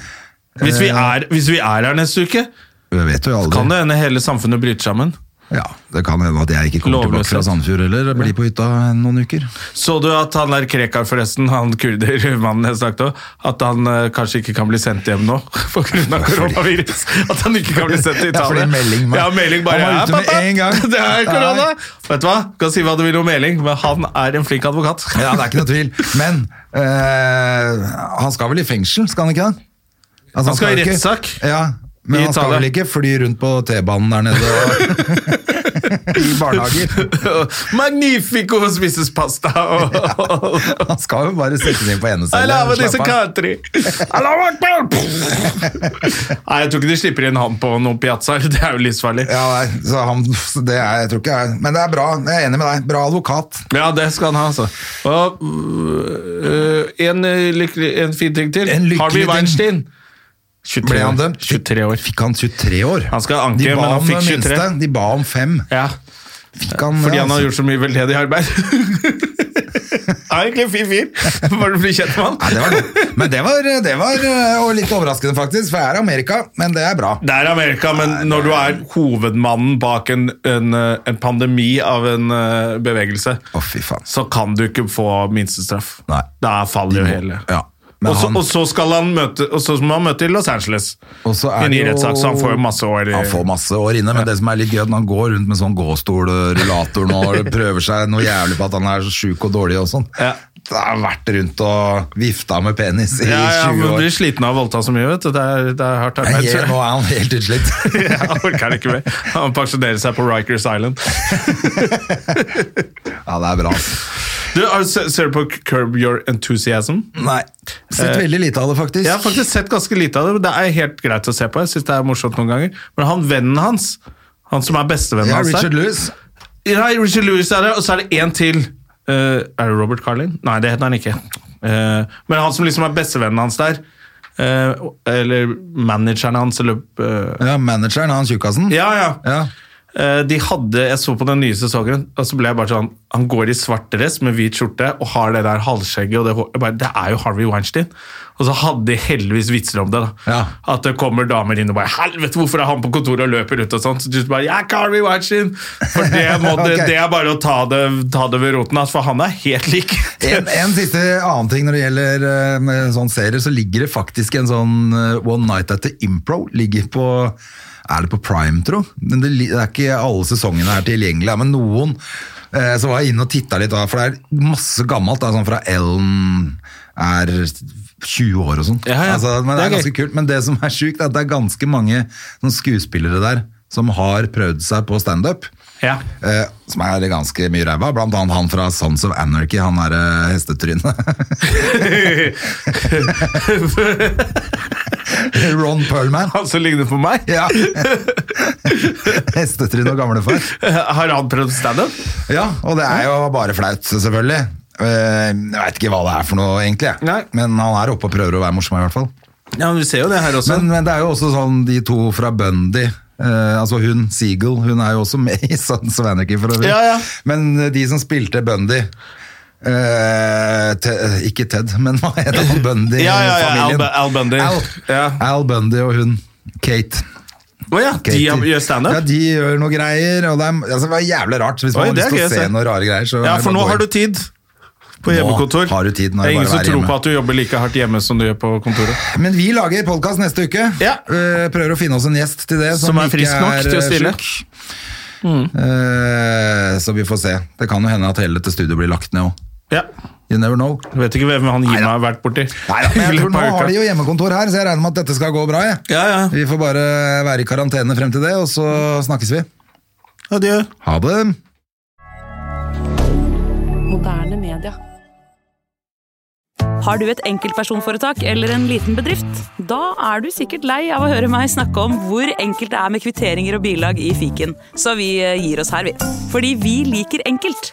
Speaker 1: Hvis vi er, hvis vi er her neste uke,
Speaker 2: Vi vet jo aldri.
Speaker 1: kan det hende hele samfunnet bryter sammen.
Speaker 2: Ja, det kan hende at jeg ikke kommer tilbake fra
Speaker 1: Lovløshet.
Speaker 2: Sandfjord heller. og Blir på hytta noen uker.
Speaker 1: Så du at han der Krekar, forresten, han (laughs) kurdermannen jeg snakket om, at han eh, kanskje ikke kan bli sendt hjem nå (laughs) pga. koronavirus? At han ikke kan bli sendt til
Speaker 2: Ja, fordi
Speaker 1: Italia?
Speaker 2: melding bare-
Speaker 1: ja, melding bare
Speaker 2: Han var ute
Speaker 1: ja,
Speaker 2: med
Speaker 1: pappa,
Speaker 2: en gang.
Speaker 1: (laughs) Det er korona! Vet du hva? Du kan si hva du vil om Meling, men han er en flink advokat.
Speaker 2: Ja, det er ikke noe tvil. Men eh, han skal vel i fengsel, skal han ikke det? Altså,
Speaker 1: Han skal i
Speaker 2: jo ikke-
Speaker 1: rettssak.
Speaker 2: Ja, men
Speaker 1: I
Speaker 2: han skal
Speaker 1: Italia.
Speaker 2: vel ikke fly rundt på T-banen der nede og (laughs) i barnehager.
Speaker 1: (laughs) Magnifico spises pasta!
Speaker 2: (laughs)
Speaker 1: Og, og, (laughs)
Speaker 2: Han skal jo bare sette den inn på
Speaker 1: I
Speaker 2: enecelle.
Speaker 1: love
Speaker 2: (laughs)
Speaker 1: this country! I love it, man! (laughs) Nei, jeg tror ikke de slipper inn han på noen piazzaer. (laughs) Det er jo livsfarlig.
Speaker 2: Ja, nei, så han, det er, jeg tror ikke jeg, Men det er bra, jeg er enig med deg. Bra advokat.
Speaker 1: Ja, det skal han ha, altså. Og, øh, en, øh, lykkelig, en fin ting til.
Speaker 2: En lykkelig
Speaker 1: Harvey
Speaker 2: ting.
Speaker 1: Weinstein. 23
Speaker 2: Ble han
Speaker 1: år.
Speaker 2: dømt?
Speaker 1: 23 år.
Speaker 2: Fikk han 23 år?
Speaker 1: Han skal anke,
Speaker 2: De ba
Speaker 1: men han
Speaker 2: om
Speaker 1: fikk
Speaker 2: det
Speaker 1: 23.
Speaker 2: minste, De ba om fem.
Speaker 1: Ja,
Speaker 2: Fikk han,
Speaker 1: fordi
Speaker 2: det,
Speaker 1: han har
Speaker 2: altså?
Speaker 1: gjort så mye veldedig arbeid. (laughs) Er egentlig en fin fyr. Bare bli kjent med
Speaker 2: Nei, det
Speaker 1: han.
Speaker 2: var det. Men det var, det var eh, og litt overraskende, faktisk, for jeg er Amerika, men det er bra.
Speaker 1: Det er Amerika, men når du er hovedmannen bak en, en, øh, en pandemi av en øh, bevegelse,
Speaker 2: Å, fy faen.
Speaker 1: så kan du ikke få minstestraff.
Speaker 2: Nei.
Speaker 1: Da faller jo
Speaker 2: må-
Speaker 1: hele.
Speaker 2: ja. Men
Speaker 1: Og så-
Speaker 2: han-
Speaker 1: og så skal han møte Og så må han møte i Los Angeles.
Speaker 2: Og så
Speaker 1: I
Speaker 2: er
Speaker 1: en ny
Speaker 2: det jo-
Speaker 1: rettssak, så han får jo masse år. i-
Speaker 2: Han får masse år inne, men det som er litt gøy, er at han går rundt med sånn gåstolrullator nå
Speaker 1: (laughs)
Speaker 2: og prøver seg noe jævlig på at han er så sjuk og dårlig og sånn.
Speaker 1: Ja.
Speaker 2: Da har han vært rundt og vifta med penis i
Speaker 1: ja, ja,
Speaker 2: 20
Speaker 1: men
Speaker 2: år.
Speaker 1: blir sliten av å voldta så mye, vet du. Det er, det er hardt
Speaker 2: Nei,
Speaker 1: arbeid.
Speaker 2: helt- Nå
Speaker 1: (laughs) så-
Speaker 2: er han helt utslitt.
Speaker 1: (laughs) Jeg orker ikke mer. Han pensjonerer seg på Rikers Island.
Speaker 2: Ja, det er bra. ass.
Speaker 1: Du, har du se- Ser du på Curb Your Enthusiasm?
Speaker 2: Nei, sett veldig lite av det, faktisk.
Speaker 1: Jeg har Eh, faktisk sett ganske lite av det. men Det er helt greit å se på. Jeg synes det er morsomt noen ganger. Men han vennen hans, han som er bestevennen
Speaker 2: Ja,
Speaker 1: hans der-
Speaker 2: Richard Lewis.
Speaker 1: Ja, Richard Lewis er det, og så er det en til. Eh, er det Robert Carlin? Nei, det heter han ikke. Eh, men han som liksom er bestevennen hans der, eh, eller manageren hans, eller eh,
Speaker 2: Ja, manageren, han tjukkasen.
Speaker 1: Ja, ja.
Speaker 2: Ja.
Speaker 1: Eh, de hadde, Jeg så på den nye sesongen, og så ble jeg bare sånn Han går i svart dress med hvit skjorte og har det der halvskjegget og det hår- jeg bare, Det er jo Harvey Weinstein! Og så hadde de heldigvis vitser om det. da
Speaker 2: Ja.
Speaker 1: At det kommer damer inn og bare 'Helvete, hvorfor er han på kontoret og løper rundt?' og sånt. Så du bare 'Jeg er ikke Harvey Weinstein!' For det,
Speaker 2: (laughs)
Speaker 1: må det,
Speaker 2: Ok.
Speaker 1: det er bare å ta det, ta det ved roten, altså, for han er helt lik.
Speaker 2: En, en siste annen ting når det gjelder eh, med sånn serier, så ligger det faktisk en sånn eh, One Night at the Impro ligger på Er det på Prime, tro? Men det, li- det er ikke alle sesongene her tilgjengelig, da, men noen eh, så var jeg inne og titta litt, da, for det er masse gammelt. Da, sånn fra Ellen er 20 år og sånn.
Speaker 1: Ja, ja.
Speaker 2: Altså, men det
Speaker 1: Det
Speaker 2: er
Speaker 1: er
Speaker 2: ganske kult. Men det som er sjukt, er at det er ganske mange sånn skuespillere der som har prøvd seg på standup.
Speaker 1: ja.
Speaker 2: Eh, som er ganske mye ræva. Blant annet han fra Sons of Anarchy, han derre hestetrynet. (laughs) Ron Perlman.
Speaker 1: (laughs) Han som ligner på meg.
Speaker 2: Ja. (laughs) Hestetryn og gamlefar.
Speaker 1: Har han prøvd standup?
Speaker 2: Ja, og det er jo bare flaut, selvfølgelig. Eh, Jeg veit ikke hva det er for noe, egentlig. jeg.
Speaker 1: Nei.
Speaker 2: Men han er oppe og prøver å være morsom, i hvert fall.
Speaker 1: Ja, men vi ser jo det her også.
Speaker 2: Men, men det er jo også sånn de to fra Bundy eh, altså hun, Siegel, hun er jo også med i Sons of Anarchy for øvrig.
Speaker 1: Ja, ja.
Speaker 2: Men eh, de som spilte Bundy eh, te, eh, Ikke Ted, men hva heter han Bundy-familien?
Speaker 1: Ja, ja, ja, Al Bu- Al Bundy.
Speaker 2: Al,
Speaker 1: Ja.
Speaker 2: Al Bundy og hun, Kate.
Speaker 1: Å ja, de
Speaker 2: Katie.
Speaker 1: har- gjør standup?
Speaker 2: Ja, de gjør noe greier. Og det, er, altså, det var jævlig rart. Hvis man
Speaker 1: Oi,
Speaker 2: har
Speaker 1: det er
Speaker 2: lyst til
Speaker 1: gøy å
Speaker 2: å se
Speaker 1: se.
Speaker 2: noen rare greier, så er
Speaker 1: Ja,
Speaker 2: det
Speaker 1: for
Speaker 2: bare å
Speaker 1: nå
Speaker 2: gå
Speaker 1: har du
Speaker 2: inn.
Speaker 1: tid på
Speaker 2: Nå
Speaker 1: hjemmekontor.
Speaker 2: har du tid, nå er
Speaker 1: det
Speaker 2: det
Speaker 1: er ingen
Speaker 2: bare å
Speaker 1: som
Speaker 2: være
Speaker 1: tror
Speaker 2: hjemme.
Speaker 1: på at du jobber like hardt hjemme som du gjør på kontoret.
Speaker 2: Men vi lager podkast neste uke.
Speaker 1: Ja.
Speaker 2: Eh, prøver å finne oss en gjest til det.
Speaker 1: Som er frisk nok til å stille.
Speaker 2: sjuk. Eh, så vi får se. Det kan jo hende at hele dette studioet blir lagt ned òg.
Speaker 1: Ja.
Speaker 2: You never know.
Speaker 1: Jeg vet ikke hvem han Jim
Speaker 2: Neida.
Speaker 1: har vært borti.
Speaker 2: Neida, (laughs) men jeg
Speaker 1: (laughs) I
Speaker 2: tror
Speaker 1: løpet
Speaker 2: Nå
Speaker 1: av uka.
Speaker 2: har de jo hjemmekontor her, så jeg regner med at dette skal gå bra. Jeg.
Speaker 1: Ja, ja.
Speaker 2: Vi får bare være i karantene frem til det, og så snakkes vi.
Speaker 1: Adjø.
Speaker 2: Ha det!
Speaker 4: Moderne media. Har du et enkeltpersonforetak eller en liten bedrift? Da er du sikkert lei av å høre meg snakke om hvor enkelt det er med kvitteringer og bilag i fiken, så eh, vi gir oss her, vi. Fordi vi liker enkelt.